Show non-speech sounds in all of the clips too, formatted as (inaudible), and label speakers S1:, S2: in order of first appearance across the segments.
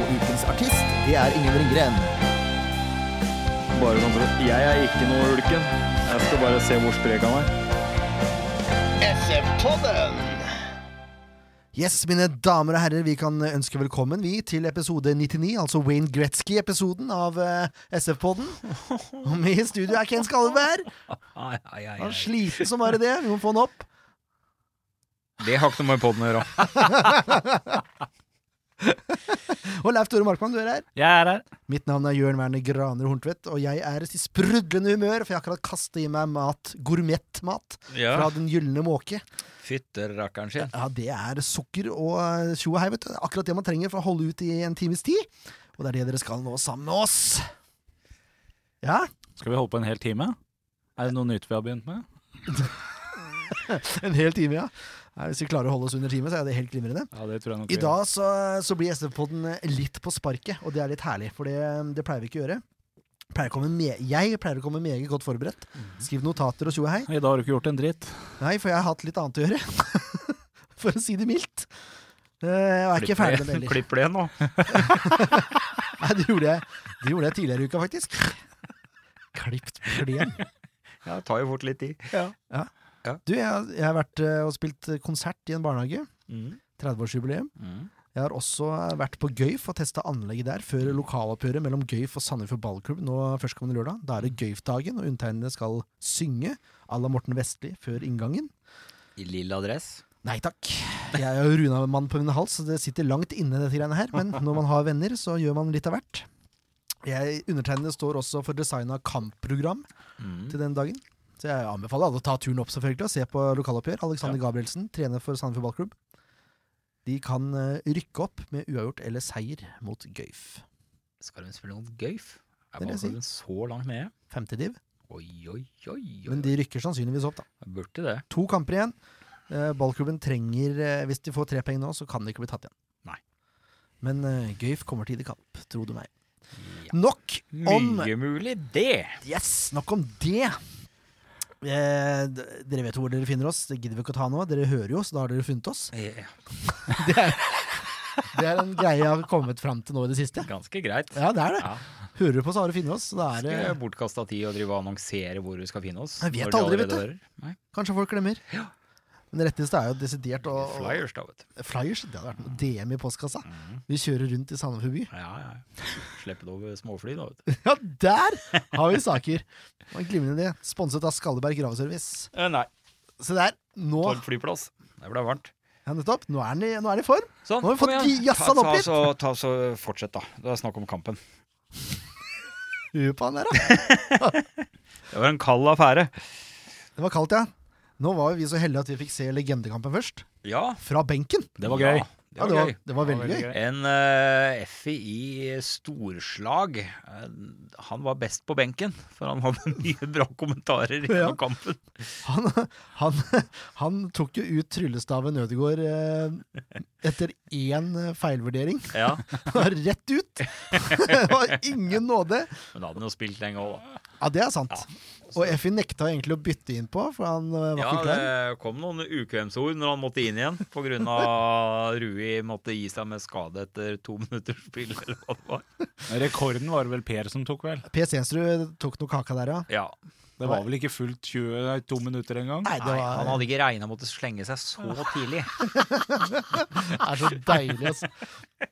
S1: Og ukens artist, det er Ingen Ringgren.
S2: Bare sånn for at Jeg er ikke noe ulken. Jeg skal bare se hvor sprek han er.
S3: Yes, mine damer og herrer, vi kan ønske velkommen vi til episode 99, altså Wayne Gretzky-episoden av eh, SF-podden. Og med i studio er Ken Skalleberg. Han er sliten som bare det. Vi må få han opp.
S2: Det har ikke noe med poden å gjøre.
S3: Og Leif Tore Markmann, du er her.
S4: Jeg er her.
S3: Mitt navn er Jørn Werner Graner Horntvedt, og jeg er i sprudlende humør, for jeg har akkurat kastet i meg mat, gourmettmat,
S2: Ja.
S3: fra Den gylne måke.
S2: Fytterrakkeren sin.
S3: Ja, det er sukker og eh, tjo og hei, vet du. Akkurat det man trenger for å holde ut i en times tid. Og det er det dere skal nå sammen med oss. Ja, (laughs)
S5: Skal vi holde på en hel time? Er det noe nytt vi har begynt med?
S3: en hel time, ja. Nei, Hvis vi klarer å holde oss under timen, så er det helt glimrende.
S5: Ja, det tror jeg nok
S3: I dag så, så blir SV-podden litt på sparket, og det er litt herlig, for det, det pleier vi ikke å gjøre. Pleier å komme me- jeg pleier å komme meget godt forberedt. Skrive notater og tjo og hei.
S5: I dag har du ikke gjort en dritt.
S3: Nei, for jeg har hatt litt annet å gjøre. (laughs) For å si det mildt. Eh, Jeg er ikke ferdig med det heller.
S2: Klipp det nå.
S3: Nei, det gjorde jeg, det gjorde jeg tidligere i uka, faktisk. Klipt plen.
S2: Ja, det tar jo fort litt tid.
S3: Du, jeg, har- jeg har vært eh, og spilt konsert i en barnehage. 30-årsjubileum. Jeg har også eh, vært på Gøyf og testa anlegget der før lokaloppgjøret mellom Gøyf og Sandefjord Ballklubb nå førstkommende lørdag. Da er det Gøyf-dagen, og undertegnede skal synge à la Morten Vestli før inngangen.
S2: I lilla dress.
S3: Nei takk. Jeg er jo runamann på min hals, så det sitter langt inne, dette greiene her. Men når man har venner, så gjør man litt av hvert. Jeg Undertegnede står også for design av kampprogram
S2: Mm.
S3: til den dagen. Så jeg anbefaler alle å ta turen opp selvfølgelig og se på lokaloppgjør. Alexander Gabrielsen, trener for Sandefjord Ballklubb. De kan eh, rykke opp med uavgjort eller seier mot Gøyf.
S2: Skal de spille noe gøyf?
S3: Det
S2: Er
S3: vil jeg si.
S2: man så langt nede?
S3: Femtediv.
S2: Oi, oi, oi. oi.
S3: Men de rykker sannsynligvis opp, da.
S2: Burde det.
S3: To kamper igjen. Eh, Ballklubben trenger eh, Hvis de får tre poeng nå, så kan de ikke bli tatt igjen.
S2: Nei.
S3: Men eh, Gøyf kommer til i kamp, tro du meg.
S2: Ja.
S3: Nok om
S2: Mye mulig, det.
S3: Yes, nok om det. Eh, d- dere vet hvor dere finner oss. Det gidder vi ikke å ta nå. Dere hører jo, så da har dere funnet oss.
S2: Eh,
S3: Det er en greie jeg har kommet fram til nå i det siste.
S2: Ganske greit.
S3: Ja, det er det.
S2: Ja.
S3: Hører du på, så har du funnet oss. Så da er det
S2: Ganske bortkasta tid å drive og annonsere hvor du skal finne oss.
S3: Jeg vet
S2: når de
S3: aldri, vet
S2: allerede
S3: du.
S2: hører. Nei,
S3: Kanskje folk glemmer. Men det retteste er jo desidert å
S2: Flyers, Mm. da, vet du.
S3: Flyers? Det hadde vært noe DM i postkassa. Vi kjører rundt i Sandefjord by.
S2: Ja, ja. Slippe det over småfly, da, vet du.
S3: Ja, der har vi saker! Det var en glimrende idé. Sponset av Skalleberg Graveservice.
S2: Eh, Nei.
S3: Se der. Nå,
S2: Torp flyplass. Det ble varmt.
S3: ja, nettopp. Nå er den i- nå er den i form.
S2: Sånn,
S3: Nå har vi
S2: kom
S3: fått
S2: igjen.
S3: jassa den opp
S2: ta,
S3: litt.
S2: så, ta så fortsett, da. Det er snakk om kampen.
S3: Huet på han der, da.
S2: Det var en kald affære.
S3: Det var kaldt, ja. Nå var jo vi så heldige at vi fikk se legendekampen først.
S2: Ja,
S3: Fra benken.
S5: Det var gøy.
S2: Ja, det
S3: ja, det,
S2: var gøy.
S3: var, det var veldig
S5: veldig
S3: gøy.
S5: gøy.
S2: En eh, FI storslag. Eh, han var best på benken, for han hadde (laughs) mye bra kommentarer
S3: Ja.
S2: gjennom kampen.
S3: Han, han, han tok jo ut tryllestaven Ødegaard eh, etter én eh, feilvurdering. (laughs)
S2: Ja,
S3: Han var Rett ut! (laughs) Det var ingen nåde.
S2: Men da hadde han jo spilt lenge òg, da.
S3: Ja, det er sant. Og Effie nekta egentlig å bytte inn på, for han eh, var
S2: Ja,
S3: ikke klar.
S2: det kom noen ukvemsord når han måtte inn igjen, pga.
S3: (laughs)
S2: Rui måtte gi seg med skade etter to minutters spill, eller hva det var.
S5: Rekorden var det vel Per som tok, vel?
S3: Per Stensrud tok noe kaka der, ja.
S2: Ja.
S5: Det var vel ikke fullt 22 minutter engang?
S3: Nei, det
S2: Nei, han
S3: var,
S2: hadde ikke regna med å måtte slenge seg så tidlig.
S3: det er så deilig, altså.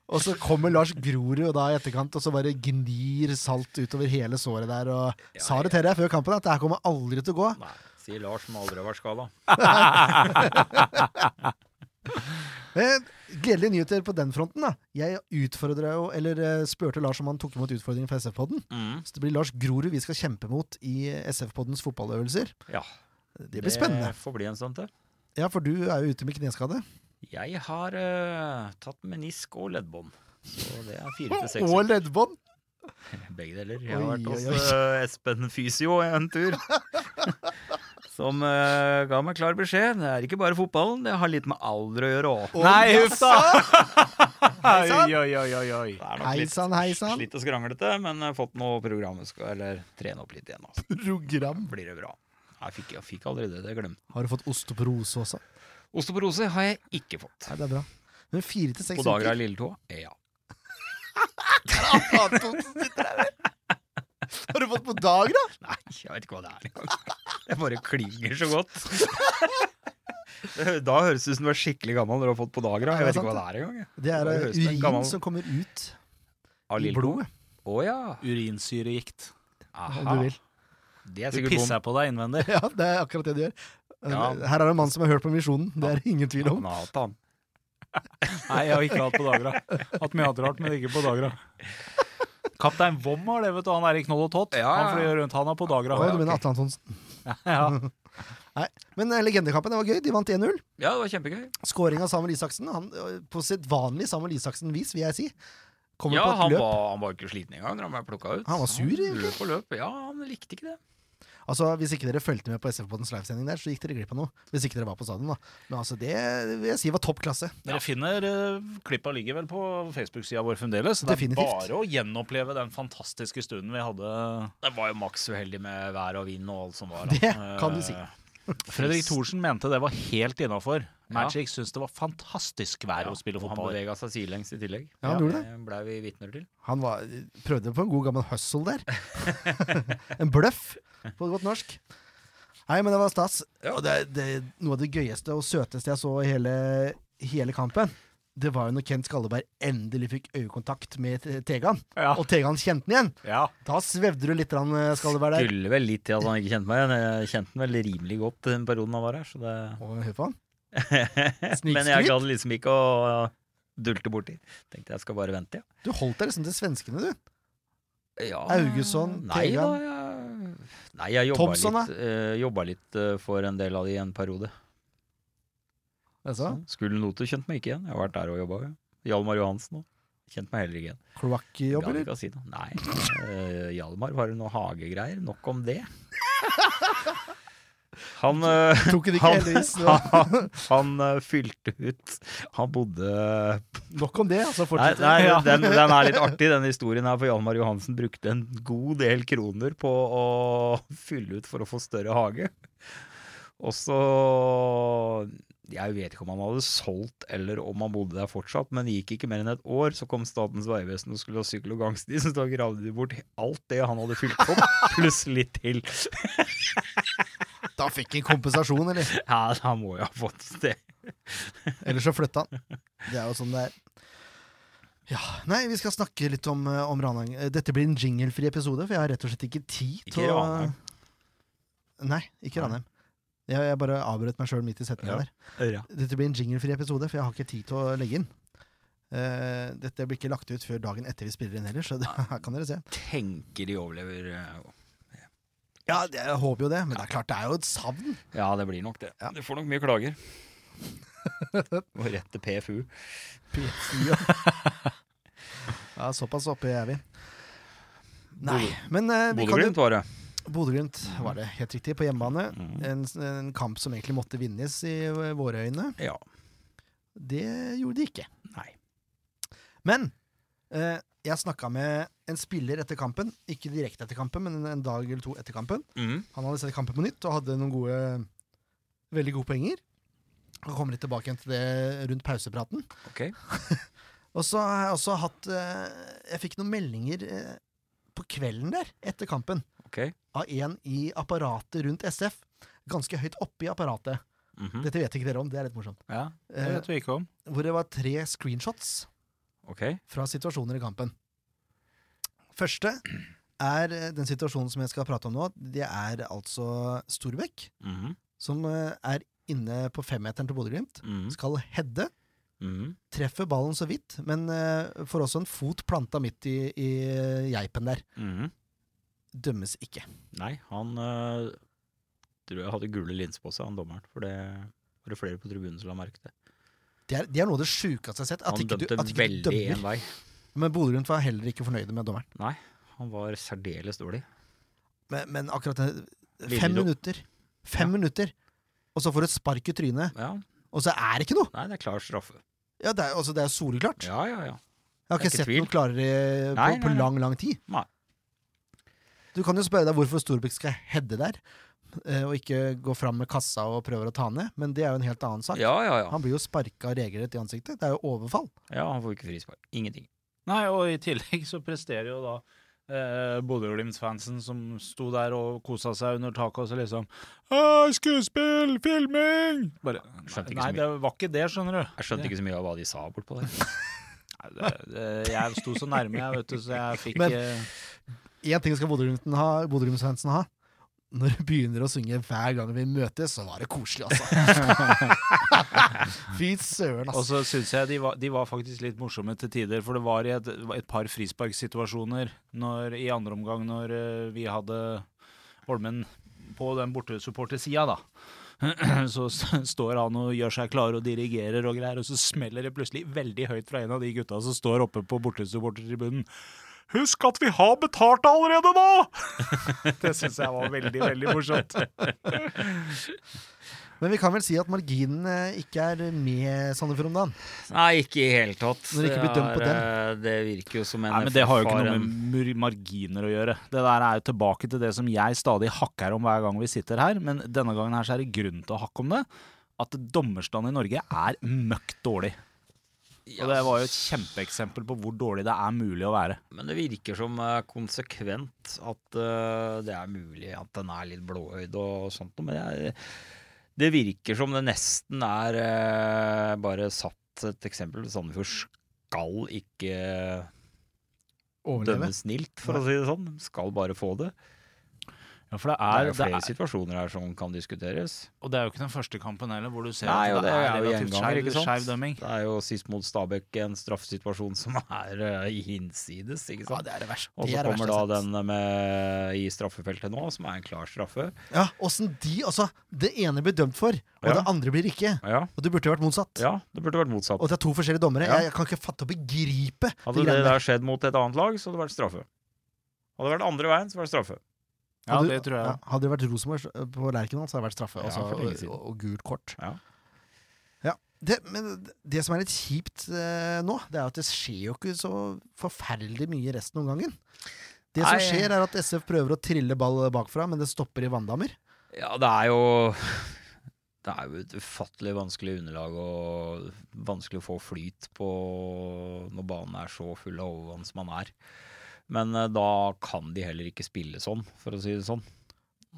S3: Og så kommer Lars Grorud og da i etterkant og så bare gnir salt utover hele såret der. Og
S2: Ja,
S3: sa det til deg før kampen at det her kommer aldri til å gå.
S2: Nei, sier Lars, som aldri har vært skada.
S3: Eh, Gledelige nyheter på den fronten. da Jeg utfordra jo, eller eh, spurte Lars om han tok imot utfordringen fra SF-podden.
S2: Mm.
S3: Så det blir Lars Grorud vi skal kjempe mot i SF-poddens fotballøvelser.
S2: Ja.
S3: Det blir spennende.
S2: får bli en stund til.
S3: Ja, for du er jo ute med kneskade.
S2: Jeg har eh, tatt menisk og leddbånd. Så det er fire til seks.
S3: (laughs) Og leddbånd!
S2: Begge deler. Jeg har
S3: Oi,
S2: vært hos
S3: oi, oi.
S2: eh, Espen Fysio en
S3: (laughs)
S2: tur. Som eh, ga meg klar beskjed. Det er ikke bare fotballen, det har litt med alder å gjøre òg.
S6: Nei, huff (laughs) da! Oi, oi, oi, oi, oi.
S2: Det er nok
S3: Hei
S2: litt
S3: sann, hei sann.
S2: slitt og skranglete, men jeg har fått noe program jeg skal- eller trene opp litt igjen. Altså.
S3: Program.
S2: Blir det bra. Jeg fikk, jeg fikk aldri det, det glemte jeg.
S3: Har du fått osteoporose også?
S2: Osteoporose har jeg ikke fått.
S3: Nei, det er bra. Men fire til seks
S2: På dager av
S3: uker
S2: lilletåa? Ja.
S3: (laughs) Har du fått på dager, da?
S2: Nei, jeg vet ikke hva det er engang. Det bare klinger så godt. Da høres det ut som du er skikkelig gammel når du har fått på dager.
S3: Ja,
S2: Jeg
S3: det
S2: vet
S3: er
S2: ikke hva
S3: sant,
S2: det er engang. jeg.
S3: Det er eh,
S2: Det høres ut som en gammel-
S3: urin som kommer ut
S2: Av
S3: i
S2: lilletåa?
S3: blodet,
S2: Å ja.
S6: Urinsyregikt.
S2: Aha.
S3: om du vil.
S2: Det er
S6: Du
S2: sikkert bom.
S6: pisser på deg innvendig.
S3: Ja, det er akkurat det du gjør. Eh,
S2: Ja.
S3: Her er det en mann som har hørt på Misjonen, det er det ingen tvil om.
S2: Han har hatt han.
S6: (laughs) Nei, jeg har ikke hatt på Dagra. Hatt mye annet rart, men ikke på Dagra. Kaptein Vom har det, vet du. Han er i Knoll og Tott.
S2: Ja, ja, ja.
S6: Han flyr rundt, han er på Dagra.
S3: Å, du mener
S2: ok.
S3: Atle Antonsen.
S6: Ja.
S3: (laughs) Men eh, legendekampen, det var gøy. De vant 1-0.
S2: Ja, det var kjempegøy.
S3: Skåring av Samuel Isaksen, han, eh, på sitt vanlige Samuel Isaksen-vis, vil jeg si. Kommer
S2: Ja,
S3: på
S2: han
S3: et løp.
S2: var, han var ikke sliten engang da han ble plukka ut.
S3: Han var sur,
S2: Han på løp. Ja, han likte ikke det.
S3: Altså, Hvis ikke dere fulgte med på SF-podens livesending der, så gikk dere glipp av noe. Hvis ikke dere var på stadion, da. Men altså, det vil jeg si var topp klasse.
S6: Dere finner eh, Klippa ligger vel på Facebook-sida vår fremdeles. så Det er
S3: Definitivt.
S6: bare å gjenoppleve den fantastiske stunden vi hadde.
S2: Det var jo maks uheldig med vær og vind og alt som var.
S3: Det
S2: Eh,
S3: kan du si.
S6: Fredrik Thorsen mente det var helt innafor.
S2: Ja.
S6: Magic syntes det var fantastisk vær å spille
S2: og
S6: fotball
S2: Han
S6: i.
S2: bevega seg sidelengs i tillegg.
S3: Ja, han gjorde det.
S2: blei vi vitner til.
S3: Han var, prøvde på en god gammel hustle der. (laughs) en bløff, på godt norsk. Nei, men det var stas. Og det, det, noe av det gøyeste og søteste jeg så i hele, hele kampen, det var jo når Kent Skalleberg endelig fikk øyekontakt med Te- Tegan,
S6: Ja.
S3: og Tegan kjente han igjen.
S6: Ja.
S3: Da svevde du litt, grann, eh, Skalleberg der.
S2: Skulle vel litt til at han ikke kjente meg igjen. Jeg kjente han vel rimelig godt den perioden han var her, så det
S3: Og hør på han.
S2: (laughs) Men jeg
S3: Snikskryt?
S2: gadd liksom ikke å dulte borti. Tenkte jeg skal bare vente, ja.
S3: Du holdt deg liksom til svenskene, du.
S2: ja.
S3: Haugesund,
S2: Ah, Nei da,
S3: Tegan.
S2: jeg, nei, jeg jobba
S3: Thomsen,
S2: litt, eh, jobba litt eh, for en del av de i en periode.
S3: Altså,
S2: Så Skulle note kjente meg ikke igjen. Jeg har vært der og jobba. Hjalmar Johansen òg. Kjente meg heller ikke igjen.
S3: Kloakkjobb,
S2: Gadd
S3: eller?
S2: ikke å si noe. Nei. eh, Hjalmar var det noe hagegreier. Nok om
S3: (laughs)
S2: det. Han eh, (laughs)
S3: Tok det ikke
S2: Han,
S3: heldigvis. Det var-
S2: han, han eh, fylte ut Han bodde
S3: Nok om det, altså
S2: Nei,
S3: fortsett.
S2: nei den, den er litt artig, den historien her. For Hjalmar Johansen brukte en god del kroner på å fylle ut for å få større hage. Og så Jeg vet ikke om han hadde solgt eller om han bodde der fortsatt, men det gikk ikke mer enn et år. Så kom Statens vegvesen og skulle ha sykkel- og gangsti, så da gravde de bort alt det han hadde fylt opp, pluss litt til.
S3: Da fikk han kompensasjon, eller?
S2: Ja, han må jo ha fått det.
S3: Eller så flytta han.
S2: (laughs)
S3: Det er jo sånn det er. Ja, Nei, vi skal snakke litt om, eh, om Ranang. Eh, Dette blir en jinglefri episode, for jeg har rett og slett ikke tid
S2: Ikke
S3: til å
S2: Ranheim.
S3: Nei, ikke Ranheim. Jeg, jeg bare avbrøt meg sjøl midt i setningen
S2: Ja.
S3: der. Dette blir en jinglefri episode, for jeg har ikke tid til å legge inn. Eh, dette blir ikke lagt ut før dagen etter vi spiller inn heller, så det, her kan dere se.
S2: Tenker de overlever eh,
S3: Ja, det- jeg håper jo det, men det er klart det er jo et savn.
S2: Ja, det blir nok det.
S3: Ja.
S2: Du får nok mye klager. Og rett til PFU. (laughs)
S3: Ja, Såpass oppe er vi. Nei, men eh, vi kan jo
S2: Bodø-Glimt var det.
S3: Bodø-Glimt var det helt riktig, på hjemmebane.
S2: Mm.
S3: En, en kamp som egentlig måtte vinnes i eh, våre øyne.
S2: Ja.
S3: Det gjorde de ikke.
S2: Nei.
S3: Men eh, jeg snakka med en spiller etter kampen. Ikke direkte etter kampen, men en, en dag eller to etter kampen.
S2: Mm.
S3: Han hadde sett kampen på nytt og hadde noen gode, veldig gode poenger. Og kommer litt tilbake igjen til det rundt pausepraten.
S2: Ok.
S3: (laughs) Og så har jeg også hatt eh, Jeg fikk noen meldinger eh, på kvelden der, etter kampen,
S2: ok.
S3: av en i apparatet rundt SF. Ganske høyt oppe i apparatet.
S2: Mhm.
S3: Dette vet ikke dere om, det er litt morsomt.
S6: ja. Det
S3: Eh,
S6: vet vi ikke om.
S3: hvor det var tre screenshots
S2: Ok.
S3: fra situasjoner i kampen. Første er eh, den situasjonen som jeg skal prate om nå. Det er altså Storbekk,
S2: Mhm.
S3: som eh, er inne på femmeteren til Bodø-Glimt.
S2: Mhm.
S3: Skal heade.
S2: Mhm.
S3: Treffer ballen så vidt, men eh, får også en fot planta midt i, i eh, geipen der.
S2: Mhm.
S3: Dømmes ikke.
S2: Nei, han øh, tror jeg hadde gule linser på seg, han dommeren. For det var det flere på tribunen som la merke til.
S3: Det er, det er noe av det sjukeste jeg har sett. At
S2: Han
S3: ikke du,
S2: dømte
S3: at ikke du
S2: veldig
S3: dømmer.
S2: én vei.
S3: Men Bodø Glimt var heller ikke fornøyde med dommeren.
S2: Han var særdeles dårlig.
S3: Men, men akkurat den Fem
S2: Lilledo.
S3: minutter. Fem minutter! Og så får du et spark i trynet,
S2: Ja,
S3: og så er det ikke noe!
S2: Nei, det er klar straffe.
S3: Ja, det er, altså, det er soleklart.
S2: Ja, ja, ja.
S3: Jeg har
S2: det er
S3: ikke
S2: ikke
S3: sett
S2: tvil.
S3: noe klarere eh, på,
S2: Nei,
S3: på
S2: nei, nei.
S3: lang, lang tid.
S2: Nei.
S3: Du kan jo spørre deg hvorfor Storbekk skal heade der, eh, og ikke gå fram med kassa og prøver å ta ned, men det er jo en helt annen sak.
S2: Ja, ja, ja.
S3: Han blir jo sparka regelrett i ansiktet. Det er jo overfall.
S2: ja han får ikke frispark. Ingenting.
S6: Nei, og i tillegg så presterer jo da eh, Bodø-Glimt-fansen som sto der og kosa seg under taket og så liksom «Åh, Skuespill! Filming! Bare,
S2: Skjønte ikke så
S6: nei,
S2: mye.
S6: det var ikke det, skjønner du.
S2: Jeg skjønte ikke så mye av hva de sa bortpå der.
S6: Nei, det, det, jeg sto så nærme, jeg, vet du, så jeg fikk
S3: Men-
S6: eh,
S3: Én ting skal Bodø-Glimten ha- Bodø-Glimt-fansen ha. Når du begynner å synge hver gang vi møtes, så var det koselig, altså.
S2: (laughs)
S3: Fy søren,
S6: Og
S3: altså.
S6: så syns jeg de var, de var faktisk litt morsomme til tider, for det var i et, et par frisparksituasjoner når, i andre omgang når eh, vi hadde Holmen på den bortesupportersida, da. (clears throat) Så s- står han og gjør seg klar og dirigerer og greier, og så smeller det plutselig veldig høyt fra en av de gutta som står oppe på bortesupportertribunen. Husk at vi har betalt allerede nå! (laughs) Det syns jeg var veldig, veldig morsomt.
S3: Men vi kan vel si at marginene ikke er med Sandefjord om dagen.
S2: Nei, ikke i hele tatt.
S3: Når det ikke blir dømt på
S2: er, eh, Det virker jo som en
S6: Nei, men Det har jo ikke noe
S2: forfaren-
S6: med mur- marginer å gjøre. Det der er jo tilbake til det som jeg stadig hakker om hver gang vi sitter her, men denne gangen her så er det grunn til å hakke om det. At dommerstanden i Norge er møkk dårlig. Og det var jo et kjempeeksempel på hvor dårlig det er mulig å være.
S2: Men det virker som eh, konsekvent at eh, det er mulig at den er litt blåøyd og sånt noe, men jeg, det virker som det nesten er eh, bare satt et eksempel. Sandefjord skal ikke
S3: Overleve.
S2: dømme snilt, for å si det sånn. De Skal bare få det.
S6: Ja, for det
S2: Det er
S6: er,
S2: jo
S6: det
S2: flere
S6: er,
S2: situasjoner her som kan diskuteres.
S6: og det er jo ikke den første kampen heller, hvor du ser
S2: Nei,
S6: at
S2: og
S6: det, er,
S2: jo
S6: relativt
S2: gjenganger,
S6: skeiv
S2: ikke sant?
S6: skeiv dømming.
S2: Det er jo sist mot Stabæk en straffesituasjon som er eh, hinsides, ikke
S3: Ja,
S2: sant.
S3: det er det verste.
S2: Og
S3: Det
S2: så
S3: er det
S2: kommer da
S3: verste jeg har sett.
S2: den med, i straffefeltet nå, som er en klar straffe.
S3: Ja, åssen de Altså, det ene blir dømt for, og
S2: Ja.
S3: det andre blir ikke.
S2: Ja,
S3: Og det burde vært motsatt.
S2: ja det burde vært motsatt.
S3: Og det er to forskjellige dommere.
S2: Ja.
S3: Jeg, jeg kan ikke fatte og begripe
S2: Hadde
S3: de
S2: det
S3: greiene der.
S2: der skjedd mot et annet lag, så hadde det vært straffe. Hadde det vært andre veien, så var det straffe.
S6: Ja,
S3: Hadde-
S6: det tror jeg.
S3: ja, Hadde det vært Rosenborg så- eh, på Lerkendal, så hadde det vært straffe.
S2: Ja,
S3: altså,
S2: for lenge siden.
S3: og, og gult kort.
S2: Ja.
S3: Ja, det, men det som er litt kjipt eh, nå, det er at det skjer jo ikke så forferdelig mye resten av omgangen. Det som
S2: Nei.
S3: skjer, er at SF prøver å trille ball bakfra, men det stopper i vanndammer.
S2: Ja, det er jo (laughs) Det er jo et ufattelig vanskelig underlag og vanskelig å få flyt på når banen er så full av overvann som man er. Men eh, da kan de heller ikke spille sånn, for å si det sånn.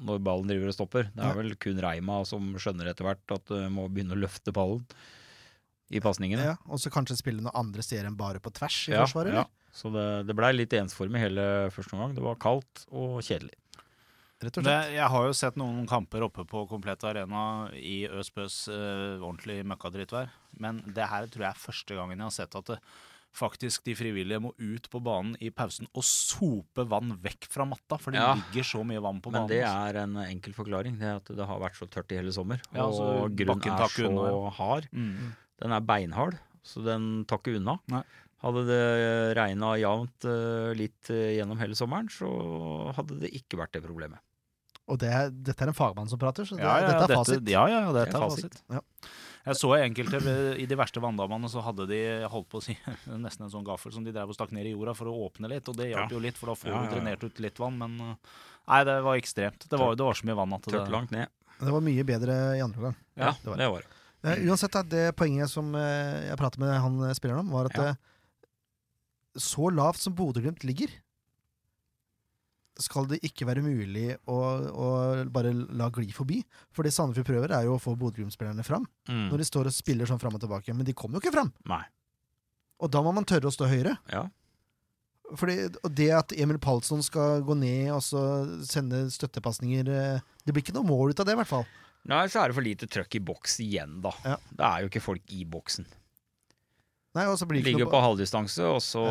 S2: Når ballen driver og stopper. Det er vel kun Reima som skjønner etter hvert at du må begynne å løfte ballen i pasningene.
S3: Ja, og så kanskje spille noen andre steder enn bare på tvers i
S2: Ja,
S3: forsvaret.
S2: ja.
S3: eller?
S2: Så det, det blei litt ensformig hele første omgang. Det var kaldt og kjedelig.
S3: Rett og
S6: Det,
S3: slett.
S6: jeg har jo sett noen kamper oppe på Komplett Arena i øs bøs eh, ordentlig møkkadrittvær, men det her tror jeg er første gangen jeg har sett at det, faktisk de frivillige må ut på banen i pausen og sope vann vekk fra matta, for det
S2: Ja.
S6: ligger så mye vann på
S2: Men
S6: banen.
S2: det er en enkel forklaring. Det er at det har vært så tørt i hele sommer.
S6: Ja, altså,
S2: og grunnen
S6: bakken
S2: er
S6: takker
S2: så
S6: unna,
S2: hard.
S6: Mm.
S2: Den er beinhard, så den tar ikke unna.
S6: Nei.
S2: Hadde det regna jevnt eh, litt eh, gjennom hele sommeren, så hadde det ikke vært det problemet.
S3: Og det er, dette er en fagmann som prater, så det,
S6: Ja, ja,
S3: dette er fasit.
S6: Ja, ja, dette
S2: Det er
S6: er
S2: fasit.
S6: fasit. Jeg så enkelte ved- i de verste vanndammene, så hadde de holdt på å si (laughs) nesten en sånn gaffel som de drev og stakk ned i jorda for å åpne litt, og det
S2: Ja.
S6: hjalp jo litt, for da får
S2: Ja,
S6: du
S2: ja, ja.
S6: drenert ut litt vann, men eh, Nei, det var ekstremt. Det var, det var så mye vann at det
S2: Tørt langt ned.
S3: Det var mye bedre i andre omgang.
S2: Ja,
S3: det var
S2: det var det.
S3: Eh, uansett, da, det poenget som eh, jeg pratet med han eh, spilleren om, var at
S2: Ja.
S3: eh, så lavt som Bodø-Glimt ligger, skal det ikke være mulig å, å bare la gli forbi. For det Sandefjord prøver, er jo å få Bodø-Glimt-spillerne fram.
S2: Mm.
S3: Når de står og spiller sånn fram og tilbake. Men de kommer jo ikke fram!
S2: Nei.
S3: Og da må man tørre å stå høyere.
S2: Ja.
S3: Fordi, og det at Emil Palsson skal gå ned og så sende støttepasninger eh, Det blir ikke noe mål ut av det, i hvert fall.
S2: Nei, så er det for lite trøkk i boks igjen, da.
S3: Ja.
S2: Det er jo ikke folk i boksen.
S3: Nei, og så blir det ikke
S2: Ligger
S3: noe
S2: på halvdistanse, og så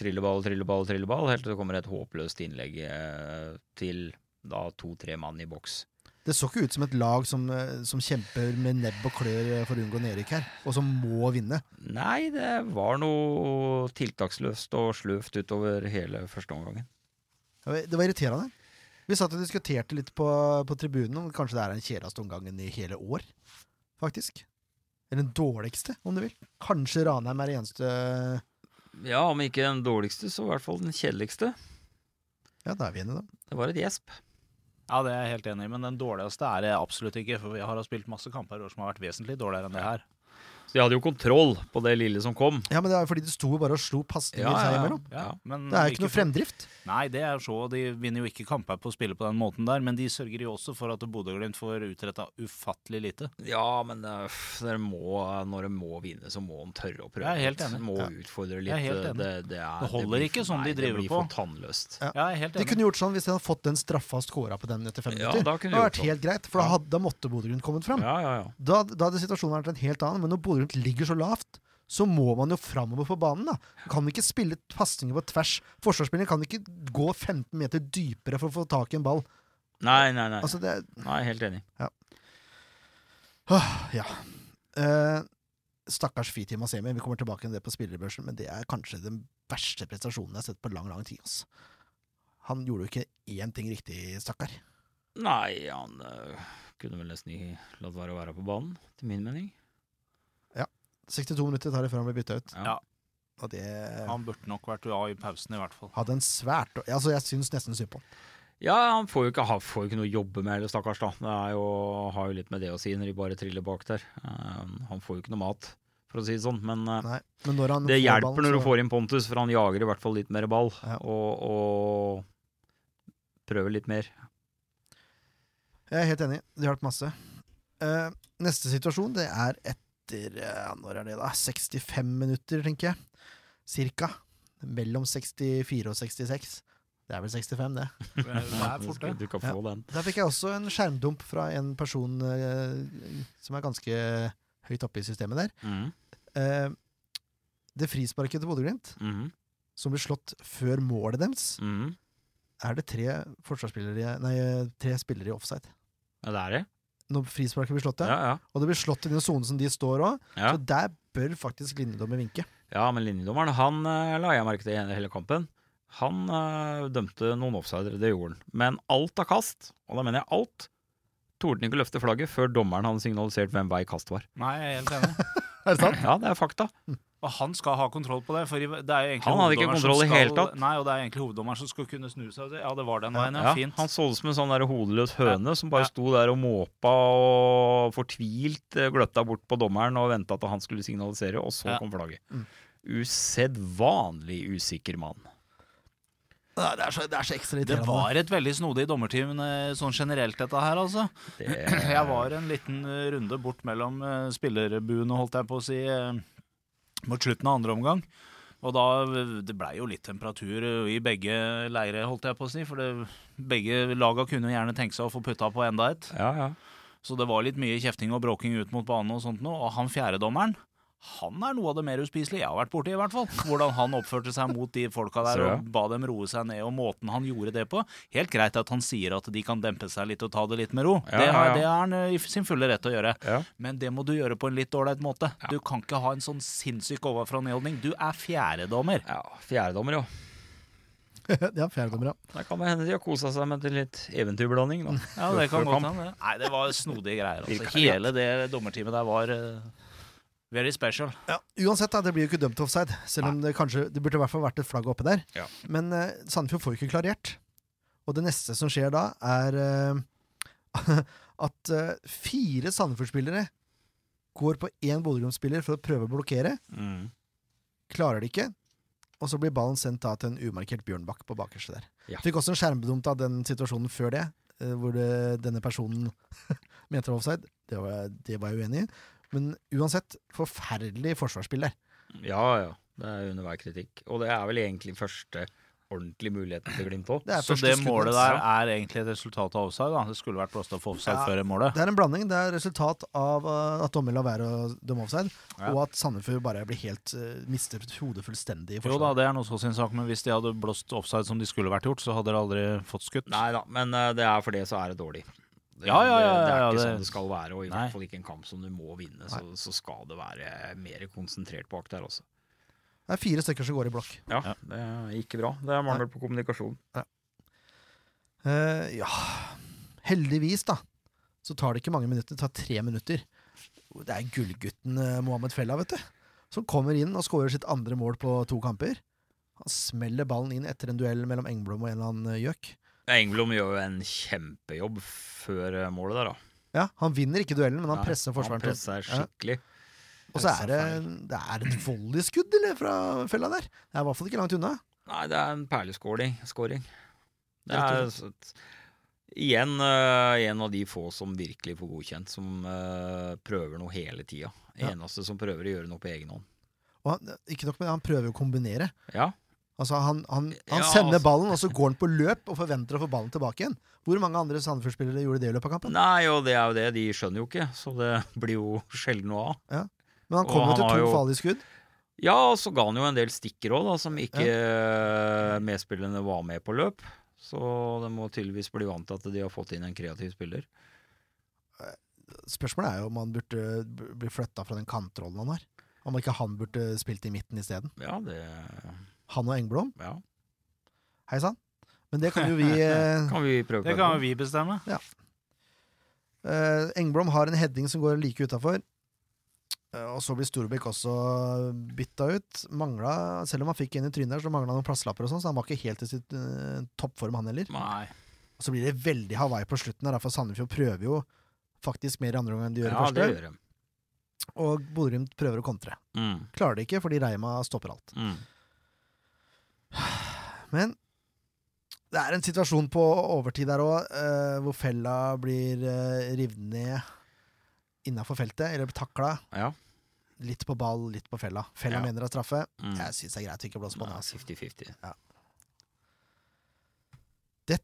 S2: trilleball, trilleball, trilleball, helt til det kommer et håpløst innlegg eh, til da to-tre mann i boks.
S3: Det så ikke ut som et lag som, eh, som kjemper med nebb og klør eh, for å unngå nedrykk her, og som må vinne.
S2: Nei, det var noe tiltaksløst og sløvt utover hele første omgangen.
S3: Det var- Det var irriterende. Vi satt og diskuterte litt på, på tribunen om kanskje det er den kjedeligste omgangen i hele år, faktisk. Eller den dårligste, om du vil. Kanskje Ranheim er det eneste
S2: Ja, om ikke den dårligste, så i hvert fall den kjedeligste.
S3: Ja, da er vi enige, da.
S2: Det var et gjesp.
S6: Ja, det er jeg helt enig i, men den dårligste er det absolutt ikke. For vi har spilt masse kamper i år som har vært vesentlig dårligere enn det her.
S2: Så de hadde jo kontroll på det lille som kom.
S3: Ja, men det er jo fordi de sto bare og slo pasninger seg imellom.
S2: Ja. Mm,
S6: men
S3: Det er jo ikke noe
S6: for-
S3: fremdrift.
S6: Nei, det er så. De vinner jo ikke kamper på å spille på den måten der, men de sørger jo også for at Bodø-Glimt får utretta ufattelig lite.
S2: Ja, men eh, f- dere må, når de må vinne, så må de tørre å prøve.
S6: Jeg er helt
S2: litt.
S6: enig.
S2: Må
S3: Ja.
S2: utfordre litt.
S6: Jeg er helt enig.
S2: Det, det, er,
S6: Det holder
S2: blir
S6: ikke
S2: for-
S6: sånn de
S2: nei,
S6: driver
S2: Det
S6: på.
S2: blir for tannløst.
S3: Ja.
S6: Ja, jeg er helt
S3: De
S6: enig.
S3: kunne gjort sånn hvis de hadde fått den straffa og scora på den etter fem
S2: Ja,
S3: minutter.
S2: da
S3: Det
S2: kunne de
S3: hadde
S2: gjort sånn.
S3: vært helt greit, for da, hadde, da måtte Bodø Grunn kommet fram.
S2: Ja, ja, ja.
S3: Da, da hadde situasjonen vært en helt annen, men når Bodø Grunn ligger så lavt, så må man jo framover på banen. da. Man Kan ikke spille pasninger på tvers. Forsvarsspilleren kan ikke gå 15 meter dypere for å få tak i en ball.
S2: Nei, nei, nei.
S3: Altså, det er
S2: nei helt enig.
S3: Eh, stakkars Fiti Masemi, vi kommer tilbake til det på spillerbørsen, men det er kanskje den verste prestasjonen jeg har sett på lang, lang tid. ass. Han gjorde jo ikke én ting riktig, stakkar.
S2: Nei, han eh, kunne vel nesten ikke latt være å være på banen, til min mening.
S3: 62 minutter tar det før han blir bytta ut,
S6: Ja.
S3: og det
S6: Han burde nok vært av i pausen, i hvert
S3: (laughs)
S6: fall.
S3: hadde en svært Altså, jeg syns nesten synd på han.
S2: Ja, han får jo ikke, han får jo ikke noe å jobbe med, eller stakkars, da. Det er jo, har jo litt med det å si når de bare triller bak der. Eh, han får jo ikke noe mat, for å si det sånn. Men eh,
S3: Nei. Men når han
S2: det
S3: får
S2: hjelper
S3: ballen,
S2: når du
S3: så-
S2: får inn Pontus, for han jager i hvert fall litt mer ball,
S3: Ja.
S2: og, og prøver litt mer.
S3: Jeg er helt enig. Det hjalp masse. Eh, neste situasjon, det er etter eh, Når er det, da? 65 minutter, tenker jeg. Cirka. Mellom 64 og 66. Det er vel 65, det.
S6: Det er fort, det.
S2: Du kan få den.
S3: Der fikk jeg også en skjermdump fra en person eh, som er ganske høyt oppe i systemet der.
S2: Mhm,
S3: Eh, det frisparket til Bodø-Glimt,
S2: mhm,
S3: som ble slått før målet deres,
S2: mhm.
S3: er det tre, forsvarsspillere, nei, eh, tre spillere i offside.
S2: Ja, det er det.
S3: Når frisparket blir slått
S2: Ja,
S3: der,
S2: ja.
S3: og det blir slått i den sonen som de står òg,
S2: Ja.
S3: så der bør faktisk linjedommer vinke. (laughs)
S2: Ja, men linjedommeren, han eh, la jeg merke til i hele kampen. Han eh, dømte noen offsidere, det gjorde han. Men alt av kast, og da mener jeg alt, torde han ikke løfte flagget før dommeren hadde signalisert hvem vei kast var.
S6: Nei, jeg er helt enig.
S3: Er det sant?
S2: Ja, det er fakta.
S6: Og han skal ha kontroll på det. For i- det er jo egentlig
S2: Han hadde ikke
S6: hoveddommeren som
S2: kontroll i
S6: skal-
S2: hele tatt.
S6: Nei, og det er egentlig hoveddommeren som skal kunne snu seg. og si, Ja, det var den veien, ja.
S2: Ja,
S6: Fint.
S2: han så ut som en sånn der hodeløs høne
S6: Ja.
S2: som bare sto der og måpa og fortvilt eh, gløtta bort på dommeren og venta at han skulle signalisere, og så
S6: Ja.
S2: kom flagget.
S3: Mm.
S2: Usedvanlig usikker mann.
S3: Nei, det, er så, det er så ekstra
S6: Det
S3: irriterende.
S6: var et veldig snodig dommerteam eh, sånn generelt, dette her, altså.
S2: Det,
S6: (laughs) Jeg var en liten eh, runde bort mellom eh, spillerbuene, holdt jeg på å si, eh, mot slutten av andre omgang. Og da eh, Det blei jo litt temperatur eh, i begge leire, holdt jeg på å si. For det, begge laga kunne jo gjerne tenke seg å få putta på enda et.
S2: ja, ja.
S6: Så det var litt mye kjefting og bråking ut mot banen og sånt nå. Og han fjerdedommeren, han er noe av det mer uspiselige jeg har vært borti, i hvert fall. Hvordan han oppførte seg mot de folka (laughs) der
S2: Så, ja.
S6: og ba dem roe seg ned, og måten han gjorde det på. Helt greit at han sier at de kan dempe seg litt og ta det litt med ro.
S2: Ja,
S6: det, har,
S2: ja, ja.
S6: det er han eh, i sin fulle rett til å gjøre.
S2: Ja.
S6: Men det må du gjøre på en litt ålreit måte.
S2: Ja.
S6: Du kan ikke ha en sånn sinnssyk overfra-ned-holdning. Du er fjerdedommer.
S2: ja Fjerdedommer, jo.
S3: ja, fjerdedommer, ja.
S2: Det kan hende de har kosa seg med litt eventyrblanding, da.
S6: Ja, det kan
S2: Før
S6: godt
S2: kamp.
S6: hende. det. Nei, det var snodige greier. Altså.
S2: Virkelig.
S6: Hele det dommerteamet der var eh, very special.
S3: ja. Uansett, da, det blir jo ikke dømt offside, selv om det kanskje det burde i hvert fall vært et flagg oppe der.
S2: Ja.
S3: Men eh, Sandefjord får jo ikke klarert. Og det neste som skjer da, er eh, (laughs) at eh, fire Sandefjord-spillere går på én Bodø-Glimt-spiller for å prøve å blokkere.
S2: Mm.
S3: Klarer det ikke. Og så blir ballen sendt da til en umarkert Bjørnbakk på bakerste der.
S2: Ja.
S3: Fikk også en skjermdump av den situasjonen før det, eh, hvor det, denne personen (laughs) mente det var offside. Det var, det var jeg uenig i. Men uansett, forferdelig forsvarsspill der.
S2: Ja, ja. Det er under hver kritikk. Og det er vel egentlig første ordentlige muligheten til Glimt òg.
S3: Det er
S6: Så
S3: første
S6: det
S3: skuddet
S6: målet
S3: deres.
S6: der er egentlig et resultat av offside? da Det skulle vært blåst av for offside
S3: Ja.
S6: før det målet?
S3: Det er en blanding. Det er resultat av eh, at dommer lar være å dømme offside,
S6: Ja.
S3: og at Sandefjord bare blir helt eh, mistet hodet fullstendig i
S6: Jo da,
S3: forsvaret.
S6: det er noe så sin sak, men hvis de hadde blåst offside som de skulle vært gjort, så hadde de aldri fått skutt.
S2: Nei da, men eh, det er for det så er det dårlig. Det,
S6: Ja, ja, ja,
S2: det, det er
S6: ja,
S2: ikke
S6: det-
S2: sånn det skal være, og i
S6: Nei.
S2: hvert fall ikke en kamp som du må vinne. Så, så skal det være mer konsentrert bak der også.
S3: Det er fire stykker som går i blokk.
S2: Ja, det er ikke bra. Det er mangel på kommunikasjon.
S3: Eh, ja Heldigvis, da, så tar det ikke mange minutter. Det tar tre minutter. Det er gullgutten eh, Mohammed Fella, vet du. Som kommer inn og skårer sitt andre mål på to kamper. Han smeller ballen inn etter en duell mellom Engblom og en eller annen eh, gjøk.
S2: Engblom gjør jo en kjempejobb før eh, målet der, da.
S3: Ja, han vinner ikke duellen, men han
S2: Nei,
S3: presser forsvaret.
S2: Han
S3: til-
S2: presser
S3: Ja.
S2: skikkelig.
S3: Og så er
S2: presser
S3: det, det er et volleyskudd eller, fra fella der. Det er i hvert fall ikke langt unna.
S2: Nei, det er en perleskåring. Skåring. Det
S3: Rett
S2: er
S3: og
S6: altså,
S2: s- igjen eh, en av de få som virkelig får godkjent, som eh, prøver noe hele tida.
S3: Ja.
S2: Eneste som prøver å gjøre noe på egen hånd.
S3: Og han, eh, ikke nok med det, han prøver å kombinere.
S2: Ja,
S3: Altså Han, han, han
S2: Ja,
S3: sender
S2: altså.
S3: ballen, og så går han på løp og forventer å få ballen tilbake igjen. Hvor mange andre Sandefjord-spillere gjorde det i løpet av kampen?
S2: Nei, og det er jo det. De skjønner jo ikke, så det (laughs) blir jo sjelden noe av.
S3: Men han
S2: Og
S3: kom jo
S2: han
S3: til
S2: har
S3: to
S2: jo-
S3: farlige skudd.
S2: Ja, og så ga han jo en del stikker òg, som ikke eh, medspillerne var med på løp. Så de må tydeligvis bli vant til at de har fått inn en kreativ spiller.
S3: Spørsmålet er jo om han burde b- bli flytta fra den kantrollen han har. Om ikke han burde spilt i midten isteden.
S2: Ja, det
S3: Han og Engblom.
S2: ja.
S3: Hei sann. Men det kan jo
S2: (laughs)
S3: vi eh,
S2: kan vi prøve
S6: Det
S2: på.
S6: kan jo vi bestemme.
S3: Eh, Engblom har en heading som går like utafor. og så blir Storbekk også bytta ut. Mangla, selv om han fikk en i trynet, her, så mangla han noen plasslapper, og sånn, så han var ikke helt i sitt eh, toppform, han heller.
S2: Nei.
S3: Og så blir det veldig Hawaii på slutten, her, da, for Sandefjord prøver jo faktisk mer i andre omgang enn de gjør i
S2: Ja, det
S3: første.
S2: gjør de.
S3: Og Bodø-Glimt prøver å kontre.
S2: Mm,
S3: Klarer det ikke, fordi Reima stopper alt.
S2: mm.
S3: Men det er en situasjon på overtid der òg, hvor fella blir eh, revet ned innafor feltet, eller takla.
S2: Ja.
S3: Litt på ball, litt på fella. Fella
S2: Ja.
S3: mener det er straffe.
S2: Mm.
S3: Jeg syns det er greit å ikke blåse på den.
S2: Nei,
S3: Altså.
S2: 50-50.
S3: Det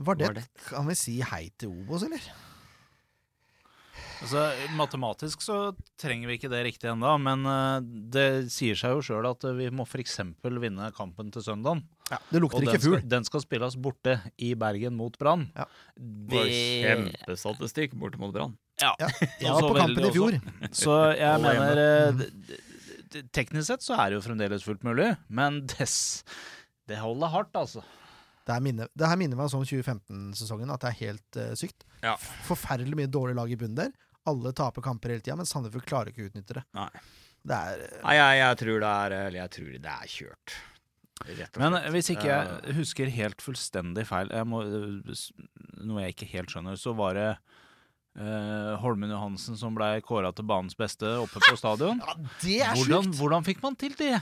S3: var det.
S2: Var det.
S3: Kan vi si hei til Obos, eller?
S6: Altså, matematisk så trenger vi ikke det riktig ennå, men eh, det sier seg jo sjøl at eh, vi må f.eks. vinne kampen til søndagen.
S3: Det
S6: Og
S3: lukter
S6: den
S3: ikke
S6: skal,
S3: fugl.
S6: den skal spilles borte i Bergen mot Brann.
S3: Ja.
S2: Det var
S6: Det
S2: kjempestatistikk borte mot Brann.
S3: Ja, jeg
S6: Og
S3: var
S6: så
S3: på kampen i
S6: veldig
S3: fjor.
S6: Så jeg
S2: Alle
S6: mener eh, d- d- d- Teknisk sett så er det jo fremdeles fullt mulig, men (laughs) dess, det holder hardt, altså.
S3: Det, her minner, det her minner meg om 2015-sesongen, at det er helt eh, sykt.
S2: Ja.
S3: Forferdelig mye dårlige lag i bunnen der. Alle taper kamper hele tida, men Sandefjord klarer ikke å utnytte det.
S2: Nei.
S3: Det er eh,
S2: Nei, jeg, jeg tror det er Eller jeg tror det er kjørt. Rett og
S6: Men
S2: slett.
S6: hvis ikke
S2: Eh,
S6: jeg husker helt fullstendig feil, jeg må, eh, s- noe jeg ikke helt skjønner, så var det eh, Holmen Johansen som ble kåra til banens beste oppe på stadion.
S3: ja, (laughs) Det er
S6: Hvordan,
S3: sjukt!
S6: hvordan fikk man til det?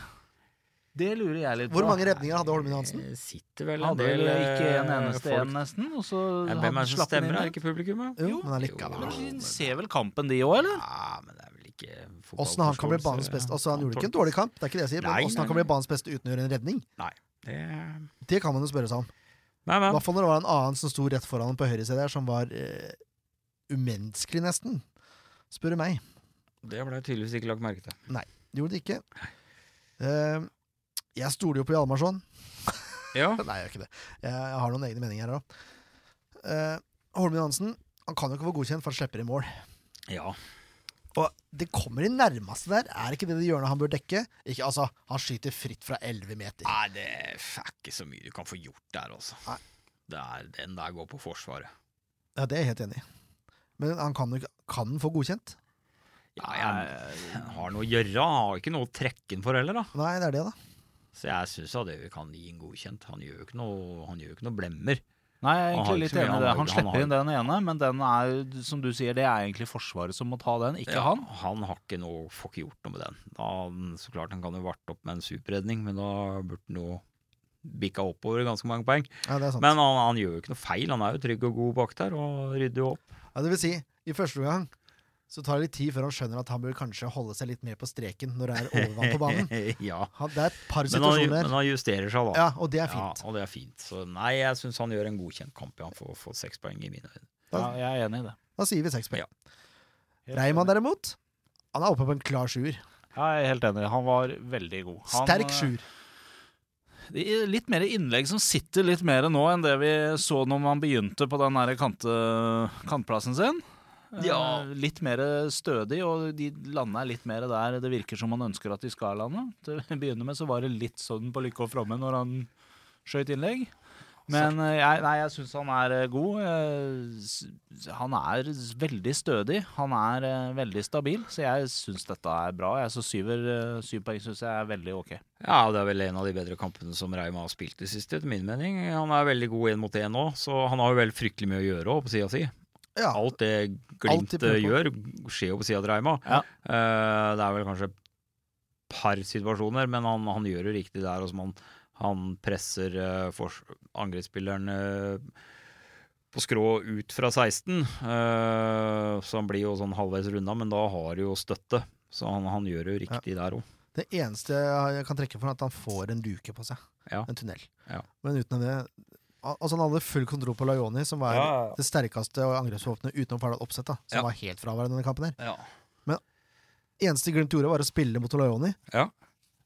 S6: Det lurer jeg litt på.
S3: Hvor mange redninger hadde Holmen Johansen?
S2: Det Eh, sitter vel en
S6: Hadde
S2: del
S6: vel ikke en
S2: eh,
S6: eneste
S2: folk-
S6: en, nesten. Og så
S2: Ja,
S6: hadde-
S2: Hvem er det som
S6: slapp den inn
S2: stemmer, er
S6: der.
S2: det ikke publikum? da?
S3: Jo, men
S6: Men
S3: allikevel.
S6: de ser vel kampen, de òg, eller?
S2: Ja, men det er vel ikke
S3: Åssen han kan bli banens beste Altså, han gjorde ikke en dårlig kamp, det er ikke det jeg sier,
S2: Nei,
S3: men åssen
S2: nei,
S3: han kan
S2: nei.
S3: bli banens beste uten å gjøre en redning,
S2: Nei,
S3: det kan man jo spørre seg om. I
S2: men
S3: hvert fall når det var en annen som sto rett foran på høyre side her, som var eh, umenneskelig, nesten. Spør du meg.
S2: det ble tydeligvis ikke lagt merke til.
S3: Det gjorde det ikke. Eh, jeg stoler jo på Hjalmarsson.
S2: Ja,
S3: Nei, jeg gjør ikke det. Jeg, jeg har noen egne meninger her òg. Uh, Holmen Johansen han kan jo ikke få godkjent, for han slipper i mål.
S2: ja.
S3: Og det kommer i nærmeste der. Er ikke det det hjørnet han bør dekke? Ikke, altså, Han skyter fritt fra 11 meter.
S2: Nei, det er ikke så mye du kan få gjort der, altså.
S3: Nei.
S2: Det er, den der går på Forsvaret.
S3: Ja, Det er jeg helt enig i. Men han kan, jo ikke- kan den få godkjent?
S2: Ja, jeg, jeg har noe å gjøre, jeg har ikke noe å trekke den for heller, da.
S3: Nei, det er det, da.
S2: Så jeg syns det vi kan gi en godkjent. Han gjør jo ikke noe, han gjør jo ikke noe blemmer.
S6: Nei, jeg er
S2: Han har
S6: egentlig
S2: ikke
S6: litt
S2: så mye,
S6: enig i
S2: han
S6: det.
S2: har-
S6: Han
S2: han
S6: slipper
S2: har-
S6: inn den ene, men den er, som du sier, det er egentlig Forsvaret som må ta den, ikke
S2: Ja,
S6: han.
S2: Han har ikke noe, får ikke gjort noe med den. Da, han- så klart han kan jo varte opp med en superredning, men da burde han jo bikka oppover ganske mange poeng.
S3: Ja, det er sant.
S2: Men han, han gjør jo ikke noe feil, han er jo trygg og god bak der og rydder jo opp.
S3: Ja, det vil si, i første omgang så tar det litt tid før han skjønner at han bør kanskje holde seg litt mer på streken når det er overvann på
S2: (laughs)
S3: banen.
S2: ja.
S3: Han, det er et par
S2: men, han,
S3: situasjoner.
S2: men han justerer seg da.
S3: Ja, og det er fint.
S2: Ja, og det er fint. Så nei, jeg syns han gjør en godkjent kamp. Ja. Han får, får seks poeng i mine øyne.
S6: Ja, jeg er enig i det.
S3: Da sier vi seks poeng.
S2: Ja.
S3: Reimann derimot, han er oppe på en klar sjuer.
S6: Ja, jeg er helt enig. Han var veldig god. Han,
S3: Sterk
S6: eh,
S3: sjuer.
S6: I- Litt mer innlegg som sitter litt mer nå enn det vi så når man begynte på den der kante, kantplassen sin. Eh,
S2: Ja.
S6: Litt mer stødig, og de lander litt mer der det virker som man ønsker at de skal lande. Til å begynne med så var det litt sånn på lykke og fromme når han skøyt innlegg. Men eh, jeg, nei, jeg syns han er eh, god. Eh, s- Han er s- veldig stødig. Han er eh, veldig stabil, så jeg syns dette er bra. Jeg så syver, eh, syv poeng syns jeg er veldig ok.
S2: Ja, det er vel en av de bedre kampene som Reima har spilt i det siste, etter min mening. Han er veldig god én mot én nå, så han har jo vel fryktelig mye å gjøre òg, på sida si.
S3: Ja,
S2: Alt det
S3: Alt
S2: Glimt
S3: de prøver på.
S2: gjør, skjer jo på sida til Reima.
S6: Ja.
S2: Eh, det er vel kanskje et par situasjoner, men han, han gjør jo riktig der. og som han, han presser eh, fors- angrepsspilleren eh, på skrå ut fra 16, eh, så han blir jo sånn halvveis runda, men da har du jo støtte. Så han, han gjør jo riktig der òg.
S3: Det eneste jeg kan trekke for, er at han får en luke på seg.
S2: Ja.
S3: En tunnel.
S2: Ja.
S3: Men utenom det al- Altså Han hadde full kontroll på Laioni, som var det sterkeste angrepsvåpenet utenom Ferdal Opseth, da, som
S2: Ja.
S3: var helt fraværende i denne kampen. her
S2: Ja.
S3: Eneste Glimt gjorde, var å spille mot Laioni,
S2: Ja.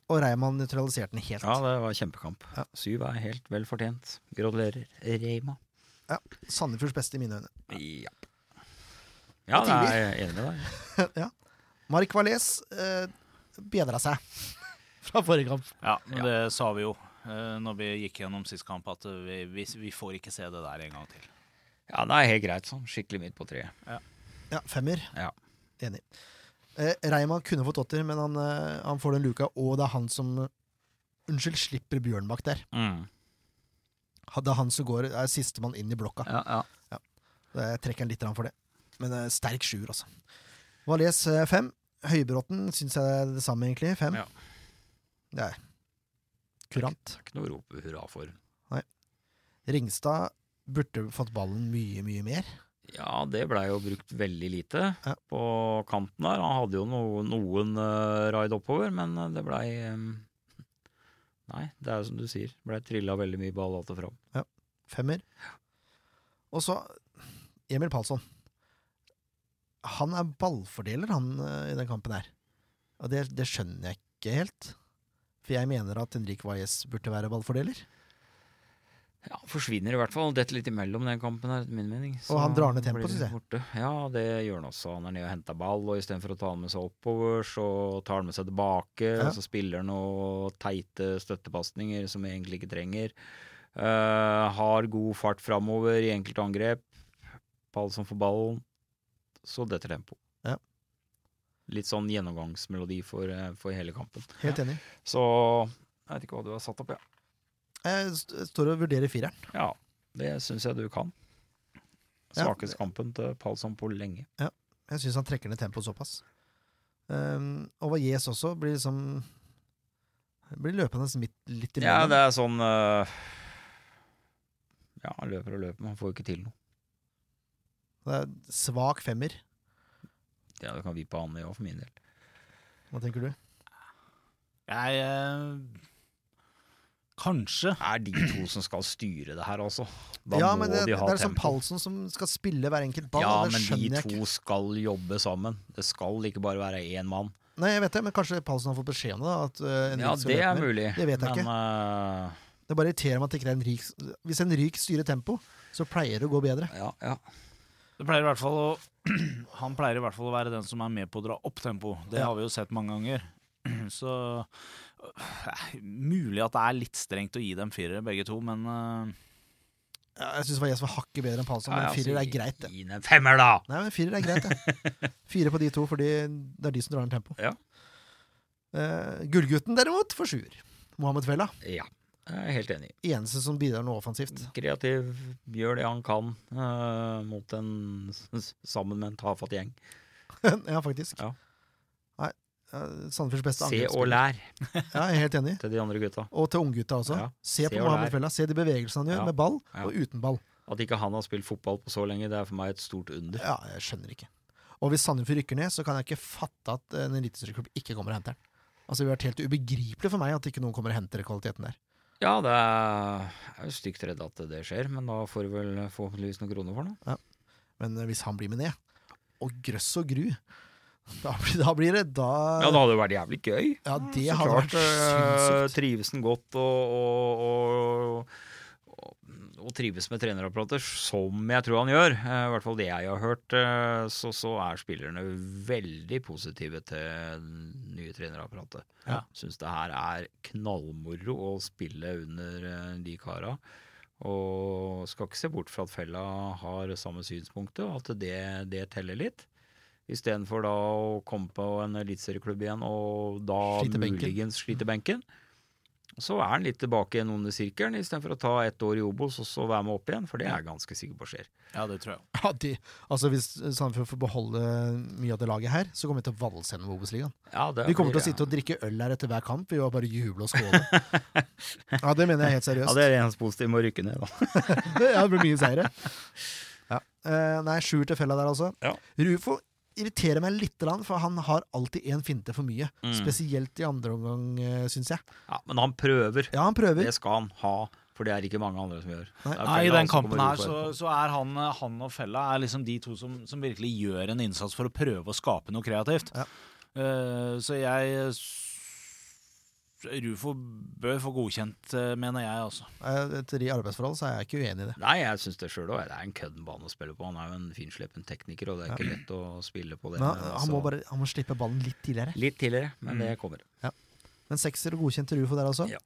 S3: og Reimann nøytraliserte den helt.
S2: Ja, det var kjempekamp.
S3: Ja.
S2: Syv er helt vel fortjent. Gratulerer, Reima.
S3: Sandefjords beste i mine øyne.
S2: Ja, ja det er jeg enig med deg.
S3: ja. Mark Valais eh, bedra
S2: (laughs)
S3: seg fra forrige kamp.
S6: Ja, men det sa vi jo eh, når vi gikk gjennom sist kamp, at eh, vi, vi, vi får ikke se det der en gang til.
S2: Ja, det er helt greit sånn. Skikkelig midt på treet.
S3: Ja, femmer.
S2: Ja.
S3: Enig. Eh, Reimann kunne fått åtter, men han, eh, han får den luka, og det er han som eh, Unnskyld, slipper Bjørnbakk der.
S2: Mm.
S3: Ha- Det er han som går, er sistemann inn i blokka.
S2: Ja, ja.
S3: Eh, Jeg trekker han litt grann for det. Men eh, sterk sjuer, altså. Valais eh, fem. Høybråten syns jeg er det samme, egentlig. Fem.
S2: Ja.
S3: Det er kurant.
S2: Ikke noe å rope hurra for.
S3: Ringstad burde fått ballen mye, mye mer.
S2: Ja, det blei jo brukt veldig lite
S3: Ja.
S2: på kanten der. Han hadde jo no, noen uh, raid oppover, men eh, det blei ehm, Nei, det er jo som du sier. Blei trilla veldig mye ball alt og fram.
S3: Femmer. Og så Emil Palsson. Han er ballfordeler, han, eh, i den kampen her. Og det, det skjønner jeg ikke helt. For jeg mener at Henrik Wajez burde være ballfordeler.
S2: Ja, forsvinner i hvert fall. Detter litt imellom den kampen her, etter min mening. Så
S3: Og han drar ned
S2: blir
S3: tempoet,
S2: det
S3: synes jeg.
S2: borte. Ja, det gjør han også. Han er nede og henter ball, og istedenfor å ta han med seg oppover, så tar han med seg tilbake.
S3: Ja.
S2: Og så spiller han noen teite støttepasninger som vi egentlig ikke trenger. Eh, har god fart framover i enkelte angrep. Pall som får ballen, så detter tempo.
S3: Ja.
S2: Litt sånn gjennomgangsmelodi for, eh, for hele kampen.
S3: Helt enig.
S2: Så jeg vet ikke hva du har satt opp, ja.
S3: Jeg st- står og vurderer fireren.
S2: Ja, det syns jeg du kan.
S3: Ja.
S2: Svakeste kampen til Palsson på lenge.
S3: Jeg syns han trekker ned tempoet såpass. Um, og Wajez også blir liksom Blir løpende midt, litt
S2: Ja,
S3: imellom.
S2: det er sånn øh, Ja, han løper og løper, men han får jo ikke til noe.
S3: det er svak femmer.
S2: Ja, det kan vi på Anne òg, for min del.
S3: Hva tenker du?
S6: Jeg eh, Kanskje.
S2: Det er de to som skal styre det her, altså. Da
S3: ja,
S2: må
S3: men det,
S2: de ha
S3: det er sånn
S2: tempo.
S3: Palsson som skal spille hver enkelt ball.
S2: ja,
S3: og det
S2: men de
S3: skjønner jeg ikke.
S2: to skal jobbe sammen. Det skal ikke bare være én mann.
S3: Nei, jeg vet det, men kanskje Palsen har fått beskjed om det? da, At, eh, Henrik
S2: Ja,
S3: skal
S2: det
S3: løpe
S2: er
S3: mer.
S2: mulig,
S3: Det vet jeg
S2: men øh,
S3: Det bare irriterer meg at ikke det er en rik Hvis en rik styrer tempo, så pleier det å gå bedre.
S2: ja, ja.
S6: Det pleier i hvert fall å, (clears throat) han pleier i hvert fall å være den som er med på å dra opp tempo. Det
S3: Ja.
S6: har vi jo sett mange ganger. (clears throat) Så eh, Mulig at det er litt strengt å gi dem firere, begge to, men eh,
S3: Ja, Jeg syns Vajes var hakket bedre enn Palsen, men
S2: Ja, altså, ja,
S3: firer
S2: så
S3: er greit, det.
S2: Gi den en femmer, da!
S3: Nei, men firer er greit, det.
S2: (laughs)
S3: Fire på de to, fordi det er de som drar ned tempo.
S2: Ja.
S3: Eh, Gullgutten, derimot, får sjuer. Mohammed Fella.
S2: Ja, jeg er helt enig.
S3: Eneste som bidrar noe offensivt.
S2: kreativ, gjør det han kan eh, mot en s- s- sammen med en tafatt gjeng.
S3: (laughs) ja, faktisk.
S2: Ja.
S3: Nei, eh, Sandefjords beste
S2: Se og
S3: angrepsspiller.
S2: lær
S3: Ja, jeg er helt enig.
S2: til de andre gutta.
S3: Og til unggutta også.
S2: Ja.
S3: Se
S2: Se
S3: på
S2: og
S3: Mohammed
S2: lær.
S3: Fella. Se de bevegelsene han gjør,
S2: Ja.
S3: med ball
S2: Ja.
S3: og uten ball.
S2: At ikke han har spilt fotball på så lenge, det er for meg et stort under.
S3: Ja, jeg skjønner ikke. Og hvis Sandefjord rykker ned, så kan jeg ikke fatte at en eliteserieklubb ikke kommer og henter den. Altså, Det ville vært helt ubegripelig for meg at ikke noen kommer og henter kvaliteten der.
S2: Ja, det er, jeg er jo stygt redd at det skjer, men da får du vel forhåpentligvis noen kroner for det.
S3: Men eh, hvis han blir med ned, og grøss og gru (laughs) Da blir, da blir det da
S2: Ja, det hadde jo vært jævlig gøy.
S3: Ja, det
S2: Så
S3: hadde
S2: klart
S3: vært
S2: øh,
S3: sinnssykt.
S2: trives den godt og, og, og, og, og trives med trenerapparater, som jeg tror han gjør. eh, I hvert fall det jeg har hørt, eh, så, så er spillerne veldig positive til det nye trenerapparatet.
S6: Ja.
S2: Syns det her er knallmoro å spille under eh, de kara. Og skal ikke se bort fra at fella har samme synspunktet, og at det, det teller litt. Istedenfor da å komme på en eliteserieklubb igjen og da
S3: Slite benken.
S2: muligens slite benken. Så er han litt tilbake igjen under sirkelen, istedenfor å ta ett år i Obos og så være med opp igjen, for det er jeg ganske sikker på skjer.
S6: Ja, det tror jeg.
S3: Ja, de, altså Hvis Sandefjord får beholde mye av det laget her, så kommer vi til å valse gjennom Obos-ligaen.
S2: Ja, det
S3: Vi kommer til
S2: blir-
S3: å sitte og drikke øl her etter hver kamp. Vi var bare juble og
S2: (laughs)
S3: skåle. Ja, det mener jeg helt seriøst.
S2: Ja, det er eneste positive med å rykke ned, da.
S3: (laughs) ja, det blir mye seire. Ja. Eh, nei, sjuer til fella der, altså.
S2: Ja.
S3: Rufo irriterer meg litt, for han har alltid én finte for mye.
S2: Mm.
S3: Spesielt i andre omgang, syns jeg.
S2: Ja, men han prøver.
S3: Ja, han prøver.
S2: Det skal han ha, for det er ikke mange andre som gjør.
S3: Nei.
S2: Det er
S6: Nei, I
S2: fella
S6: den
S2: som kommer
S6: kampen her
S2: ut for.
S6: så, så er han, eh, han og Fella er liksom de to som, som virkelig gjør en innsats for å prøve å skape noe kreativt.
S3: Ja.
S6: Eh, så jeg s- Rufo bør få godkjent, eh, mener jeg, altså.
S3: Eh, Etter de arbeidsforhold så er jeg ikke uenig i det.
S2: Nei, jeg syns det sjøl òg. Det er en kødden bane å spille på. Han er jo en finslepen tekniker, og det er ikke lett å spille på det.
S3: Men han,
S2: men
S3: han, må
S2: altså,
S3: bare, han må slippe ballen litt tidligere.
S2: Litt tidligere, men
S6: Mm.
S2: det kommer.
S3: Men sekser og godkjent til Rufo der også.
S2: Ja.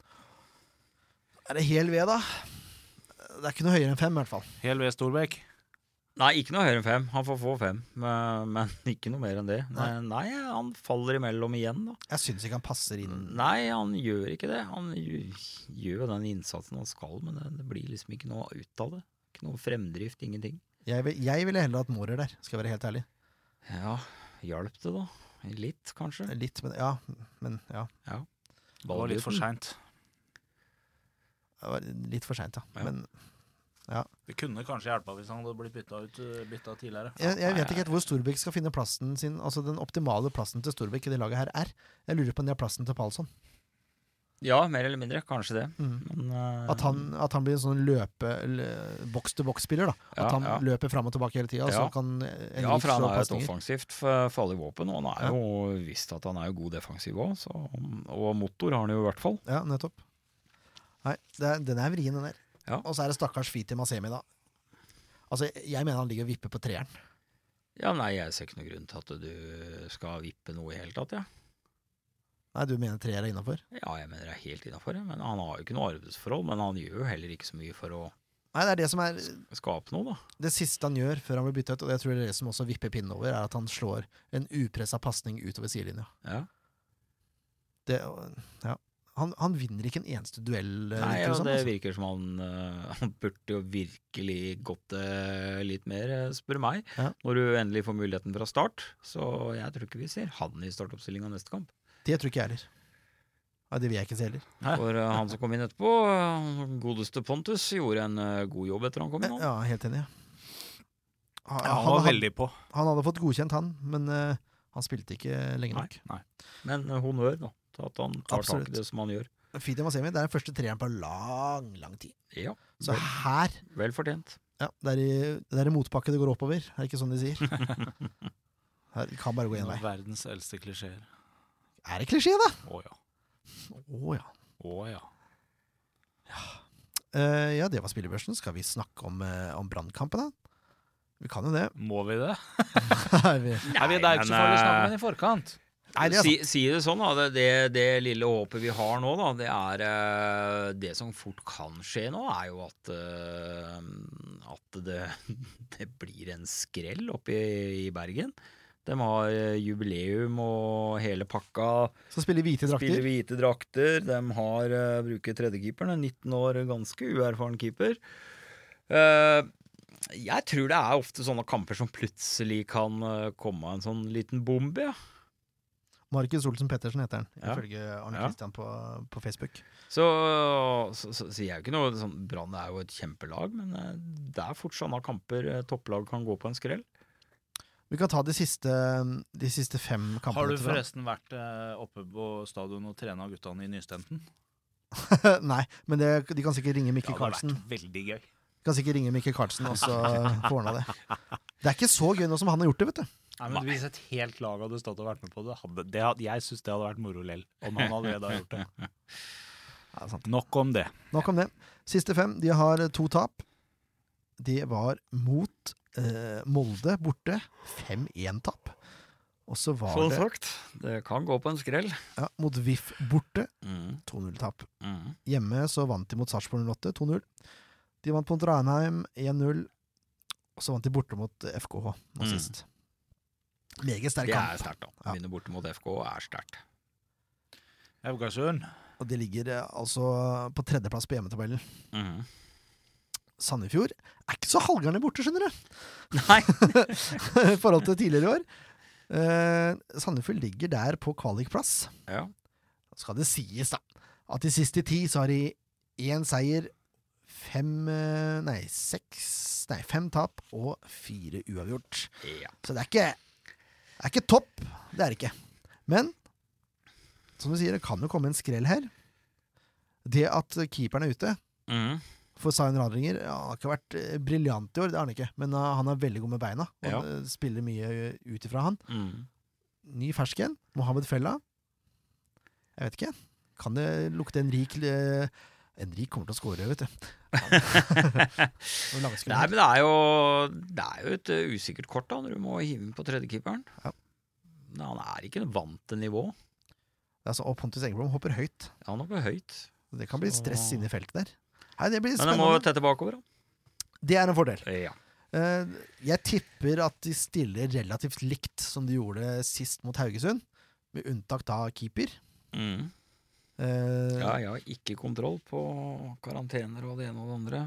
S3: Er det hel ved, da? Det er ikke noe høyere enn fem, i hvert fall.
S6: Hel ved Storbekk.
S2: Nei, ikke noe høyere enn fem. Han får få fem, men, men (laughs) ikke noe mer enn det. Nei,
S3: Nei.
S2: nei han faller imellom igjen, da.
S3: Jeg syns ikke han passer inn.
S6: Mm.
S2: Nei, han gjør ikke det. Han gj- gjør jo den innsatsen han skal, men det, det blir liksom ikke noe ut av det. Ikke noe fremdrift, ingenting.
S3: Jeg, vil, jeg ville heller hatt Mårer der, skal jeg være helt ærlig.
S2: Ja, hjalp det, da? Litt, kanskje?
S3: Litt, men ja. Men, ja.
S6: Det var litt for
S2: Ballgutten.
S6: seint.
S3: Det var litt for seint, ja.
S2: Ja.
S3: Men
S6: Det kunne kanskje hjelpa hvis han hadde blitt bytta ut eh, bytta tidligere.
S3: jeg, jeg vet ikke helt hvor Storbekk skal finne plassen sin, altså den optimale plassen til Storbekk i det laget her er. Jeg lurer på om de har plassen til Palsson.
S2: Ja, mer eller mindre. Kanskje det.
S3: Mm.
S2: Men, eh,
S3: At han, at han blir en sånn løpe boks-til-boks-spiller. da At
S2: Ja,
S3: han
S2: ja.
S3: løper fram og tilbake hele tida, og så
S2: Ja.
S3: kan Henrik
S2: Ja, for han
S3: slå
S2: er jo et
S3: pasninger.
S2: offensivt f- farlig våpen, og han er jo visst at han er jo god defensiv òg, og motor har han jo i hvert fall.
S3: Ja, nettopp. Nei, det er, den er vrien, den der.
S2: Ja.
S3: Og så er det stakkars Fiti Masemi, da. Altså, jeg mener han ligger og vipper på treeren.
S2: Ja, nei, jeg ser ikke noen grunn til at du skal vippe noe i hele tatt, jeg.
S3: Nei, du mener treer er innafor?
S2: Ja. ja, jeg mener det er helt innafor, men han har jo ikke noe arbeidsforhold, men han gjør jo heller ikke så mye for å
S3: Nei, det er det som er
S2: skape noe, da.
S3: det siste han gjør før han blir bytta ut, og det tror jeg det som også vipper pinnen over, er at han slår en upressa pasning utover sidelinja.
S2: Ja.
S3: Det, ja. han, han vinner ikke en eneste duell. eh,
S2: Nei,
S3: virker
S2: ja,
S3: som,
S2: det
S3: altså.
S2: virker som han, eh, (laughs) han burde jo virkelig gått det litt mer, eh, spør du meg.
S3: Ja.
S2: Når du endelig får muligheten fra start, så jeg tror ikke vi ser han i startoppstillinga neste kamp.
S3: det tror ikke jeg heller. Ja, det vil jeg ikke se heller.
S2: For eh, han som kom inn etterpå, eh, godeste Pontus, gjorde en eh, god jobb etter han kom inn. han.
S3: Ja, helt enig. ja. Han,
S6: Ja,
S3: han,
S6: han var
S3: han,
S6: veldig på.
S3: han hadde fått godkjent, han, men eh, han spilte ikke lenge
S2: Nei,
S3: nok.
S2: nei. Men eh, honnør da, til at han tar tak
S3: Absolutt.
S2: i det som han gjør.
S3: Fidi Masemi det er den første treeren på lang, lang tid.
S2: Ja,
S3: Så
S2: vel,
S3: her
S2: vel fortjent.
S3: ja, det, er i, det er i motbakke det går oppover, er det ikke sånn de sier? Her kan bare gå én vei.
S6: Verdens eldste klisjeer.
S3: Er det klisjé, da?
S6: Å ja.
S3: Å ja.
S6: Å ja.
S3: Eh, ja, det var spillebørsen. Skal vi snakke om, uh, om brannkampen, da? Vi kan jo det. (laughs)
S6: Må vi det?
S3: Er vi-
S6: Nei, det er
S2: men,
S6: ikke så farlig å snakke
S2: eh,
S6: om den i forkant.
S3: Nei, det er
S2: si,
S3: sant.
S2: si det sånn, da. Det, det, det lille håpet vi har nå, da, det er eh, Det som fort kan skje nå, er jo at eh, At det, (laughs) det blir en skrell oppe i, i Bergen. De har eh, jubileum og hele pakka.
S3: Så spiller hvite
S2: Spiller
S3: drakter.
S2: hvite drakter. De har uh, bruker tredjekeeperen, en 19 år ganske uerfaren keeper. Eh, jeg tror det er ofte sånne kamper som plutselig kan eh, komme en sånn liten bombe. Ja.
S3: Markus Olsen Pettersen heter han,
S2: Ja.
S3: ifølge Arne
S2: Ja.
S3: Kristian på, på Facebook.
S2: Så, så, så sier jeg jo ikke noe sånn, Brann er jo et kjempelag, men eh, det er fort sånne kamper eh, topplag kan gå på en skrell.
S3: Vi kan ta de siste, de siste fem kampene.
S6: Har du
S3: til Brann.
S6: forresten vært eh, oppe på stadion og trena guttene i Nystenten?
S3: (laughs) Nei, men det, de kan sikkert ringe Mikkel
S6: det hadde
S3: Karlsen.
S6: vært veldig gøy.
S3: De kan sikkert ringe Mikkel Karlsen og så få ordna det. Det er ikke så gøy nå som han har gjort det, vet du.
S6: Nei, men Hvis et helt lag hadde stått og vært med på det, hadde, det hadde, jeg syns det hadde vært moro lell. Om (laughs) han allerede har gjort det.
S3: Ja, sant.
S6: Nok om det.
S3: Nok om det. Siste fem. De har to tap. Det var mot eh, Molde borte. 5-1-tap. Og så var
S2: Som
S3: det
S2: sagt, det kan gå på en skrell.
S3: ja, mot VIF borte.
S2: Mm,
S3: 2-0-tap. Hjemme så vant de mot Sarpsborg 08 2-0. De vant mot Ranheim 1-0. Og så vant de borte mot FKH nå
S2: Mm.
S3: sist. Meget sterk
S2: Det er
S3: kamp.
S2: sterkt, da.
S3: Ja.
S2: Vinne borte mot FK er sterkt.
S6: Haugasund.
S3: Og de ligger eh, altså på tredjeplass på hjemmetabellen. Mm. Sandefjord er ikke så halvgærne borte, skjønner du,
S2: Nei,
S3: (laughs) i forhold til tidligere i år. Eh, Sandefjord ligger der på kvalikplass.
S2: ja.
S3: skal det sies, da, at de siste ti så har de én seier, fem eh, Nei, seks Nei, fem tap og fire uavgjort.
S2: ja.
S3: Så det er ikke Det er ikke topp. Det er det ikke. Men som du sier, det kan jo komme en skrell her. Det at keeperen er ute
S2: Mhm.
S3: for Zain Radringer ja, Han har ikke vært eh, briljant i år, det har han ikke, men eh, han er veldig god med beina. Og
S2: Ja.
S3: eh, spiller mye eh, ut ifra han.
S2: Mhm.
S3: Ny fersken, Mohammed Fella. Jeg vet ikke. Kan det lukte en rik eh, En rik kommer til å score,
S2: (laughs)
S3: vet du. (laughs) Og langskudd
S2: Nei,
S3: her.
S2: men det er jo, det er jo et uh, usikkert kort da, når du må hive inn på tredjekeeperen.
S3: Ja.
S2: Men Han er ikke vant til nivå.
S3: Altså, og Pontus Engeblom hopper høyt.
S2: Han er på høyt.
S3: Det kan bli stress inne i feltet der. Nei, det blir
S2: Men han må
S3: spennende.
S2: tette bakover, da.
S3: Det er en fordel.
S2: Ja.
S3: Eh, Jeg tipper at de stiller relativt likt som de gjorde sist mot Haugesund, med unntak da keeper.
S2: Mhm.
S3: Eh,
S2: ja, jeg har ikke kontroll på karantener og det ene og det andre.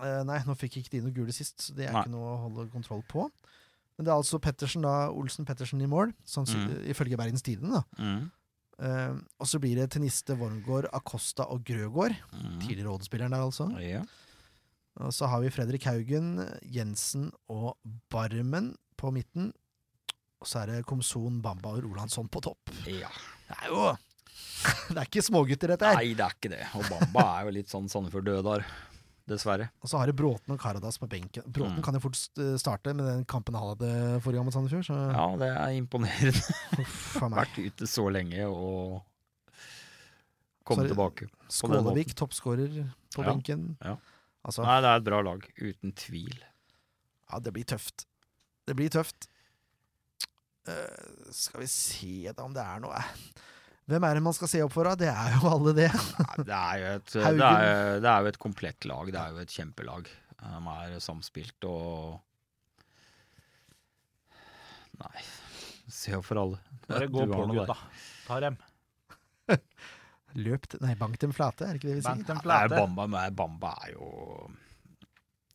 S3: Eh, nei, nå fikk ikke de noe gule sist, så det er
S2: Nei.
S3: ikke noe å holde kontroll på. Men det er altså Pettersen, da, Olsen Pettersen i mål, sannsyn-
S2: Mm.
S3: ifølge Bergens Tidende. da.
S2: Mhm.
S3: Eh, og så blir det Teniste, Wormgård, Acosta og Grøgaard.
S2: Mhm.
S3: Tidligere Odd-spilleren der, altså.
S2: Ja.
S3: Og så har vi Fredrik Haugen, Jensen og Barmen på midten. Og så er det Komson, Bamba og Rolandsson på topp. (laughs)
S2: ja.
S3: Det er jo Det er ikke smågutter, dette her.
S2: Nei, det er ikke det. Og Bamba er jo litt sånn Sandefjord Dødar, dessverre.
S3: Og så har du Bråten og Karadas på benken. Bråten
S2: Mm.
S3: kan jo fort st- starte med den kampen han hadde forrige gang mot Sandefjord, så
S2: Ja, det er imponerende.
S3: (laughs) Uff a meg.
S2: Vært ute så lenge og komme
S3: Sorry.
S2: tilbake. på den
S3: Skålevik, toppskårer på
S2: Ja,
S3: benken.
S2: ja.
S3: Altså,
S2: Nei, det er et bra lag, uten tvil.
S3: ja, det blir tøft. Det blir tøft. Eh, skal vi se da om det er noe eh. Hvem er det man skal se opp for, da? Det er jo alle det.
S2: Nei, Det er jo
S6: (laughs)
S2: et,
S3: Haugen.
S2: det er, det er jo et komplett lag. Det er jo et kjempelag. De er samspilt og Nei, se opp for alle.
S6: Bare gå
S2: Du
S6: på,
S2: har noe der.
S6: gutta. Ta dem.
S3: Løpt Nei, bank dem flate, er det ikke det vi
S6: Bank
S3: sier?
S6: dem
S2: Ja, det er
S6: flate.
S2: Bamba, men Bamba er jo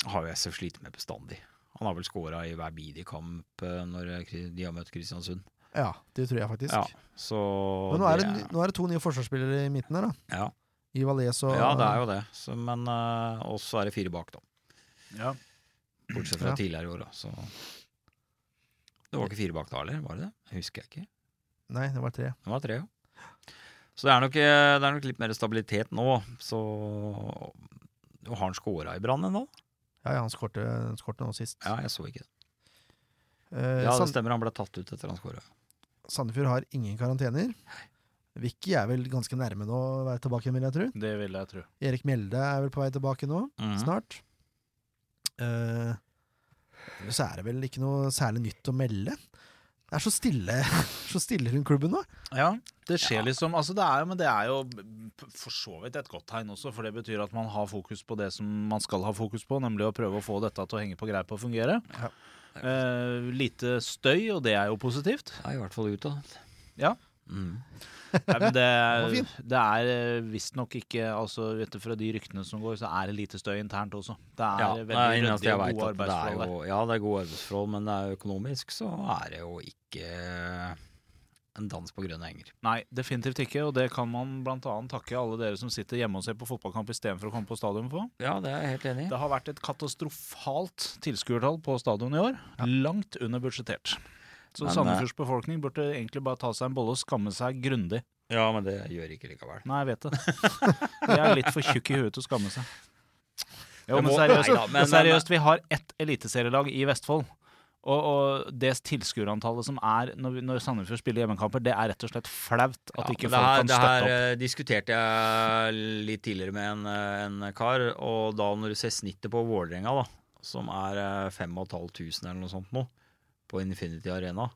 S2: Har jo SF slitt med bestandig. Han har vel skåra i hver bidige kamp eh, når Kri- de har møtt Kristiansund.
S3: Ja, det tror jeg faktisk.
S2: Ja, så
S3: Men nå er, det,
S2: det-
S3: ny- nå er det to nye forsvarsspillere i midten her, da.
S2: ja.
S3: Ivales og
S2: ja, det er jo det. Så, men eh, også er det fire bak, da.
S6: Ja.
S2: Bortsett fra
S3: Ja.
S2: tidligere i år, da. Så Det var ikke fire bak da heller, var det det? Jeg husker jeg ikke.
S3: Nei, det var tre.
S2: Det var tre, ja. Så det er nok, eh, det er nok litt mer stabilitet nå, så Og Har han skåra i Brann ennå?
S3: Ja, ja, han skårte skårte nå sist.
S2: Ja, jeg så ikke det.
S3: Eh,
S2: Ja, det
S3: Sand,
S2: stemmer, han ble tatt ut etter han skåra.
S3: Sandefjord har ingen karantener. Vicky er vel ganske nærme nå å være tilbake igjen, vil jeg tro.
S6: Det vil jeg tro.
S3: Erik Mjelde er vel på vei tilbake nå,
S2: Mhm.
S3: snart. Eh, ellers så er det vel ikke noe særlig nytt å melde. Det er så stille, (laughs) så stille rundt klubben nå.
S6: Ja, det skjer liksom altså det er jo, Men det er jo p- for så vidt et godt tegn også, for det betyr at man har fokus på det som man skal ha fokus på, nemlig å prøve å få dette til å henge på greip og fungere.
S3: Ja.
S6: Eh, lite støy, og det er jo positivt.
S2: Ja, i hvert fall utad.
S6: Ja.
S2: Mm.
S6: Nei,
S2: (laughs)
S6: men det,
S3: Den
S6: det er eh, visstnok ikke altså, vet du, Fra de ryktene som går, så er det lite støy internt også. Det er
S2: Ja, det er
S6: veldig
S2: eneste
S6: ryddig
S2: jeg
S6: og
S2: vet
S6: gode
S2: at det er
S6: arbeidsforhold der.
S2: jo, ja, det er gode arbeidsforhold, men det er økonomisk så er det jo ikke eh, en dans på grønne henger.
S6: Nei, definitivt ikke. Og det kan man bl.a. takke alle dere som sitter hjemme og ser på fotballkamp istedenfor å komme på stadion på.
S2: Ja, det er jeg helt enig i.
S6: Det har vært et katastrofalt tilskuertall på stadion i år. Langt under budsjettert. Så
S2: Men, eh,
S6: Sandefjords befolkning burde egentlig bare ta seg en bolle og skamme seg grundig.
S2: Ja, men det gjør ikke likevel.
S6: Nei, jeg vet det. De er litt for tjukke i huet til å skamme seg. Jo,
S2: Det
S6: men
S2: må-
S6: seriøst,
S2: Nei da, men-
S6: seriøst vi har ett eliteserielag i Vestfold. Og, og det tilskuerantallet som er når, vi- når Sandefjord spiller hjemmekamper, det er rett og slett flaut at ikke folk
S2: men det her,
S6: kan
S2: det her
S6: støtte opp.
S2: eh, diskuterte jeg litt tidligere med en, eh, en kar, og da når du ser snittet på Vålerenga, da, som er eh, 5500 eller noe sånt nå, på Infinity Arena,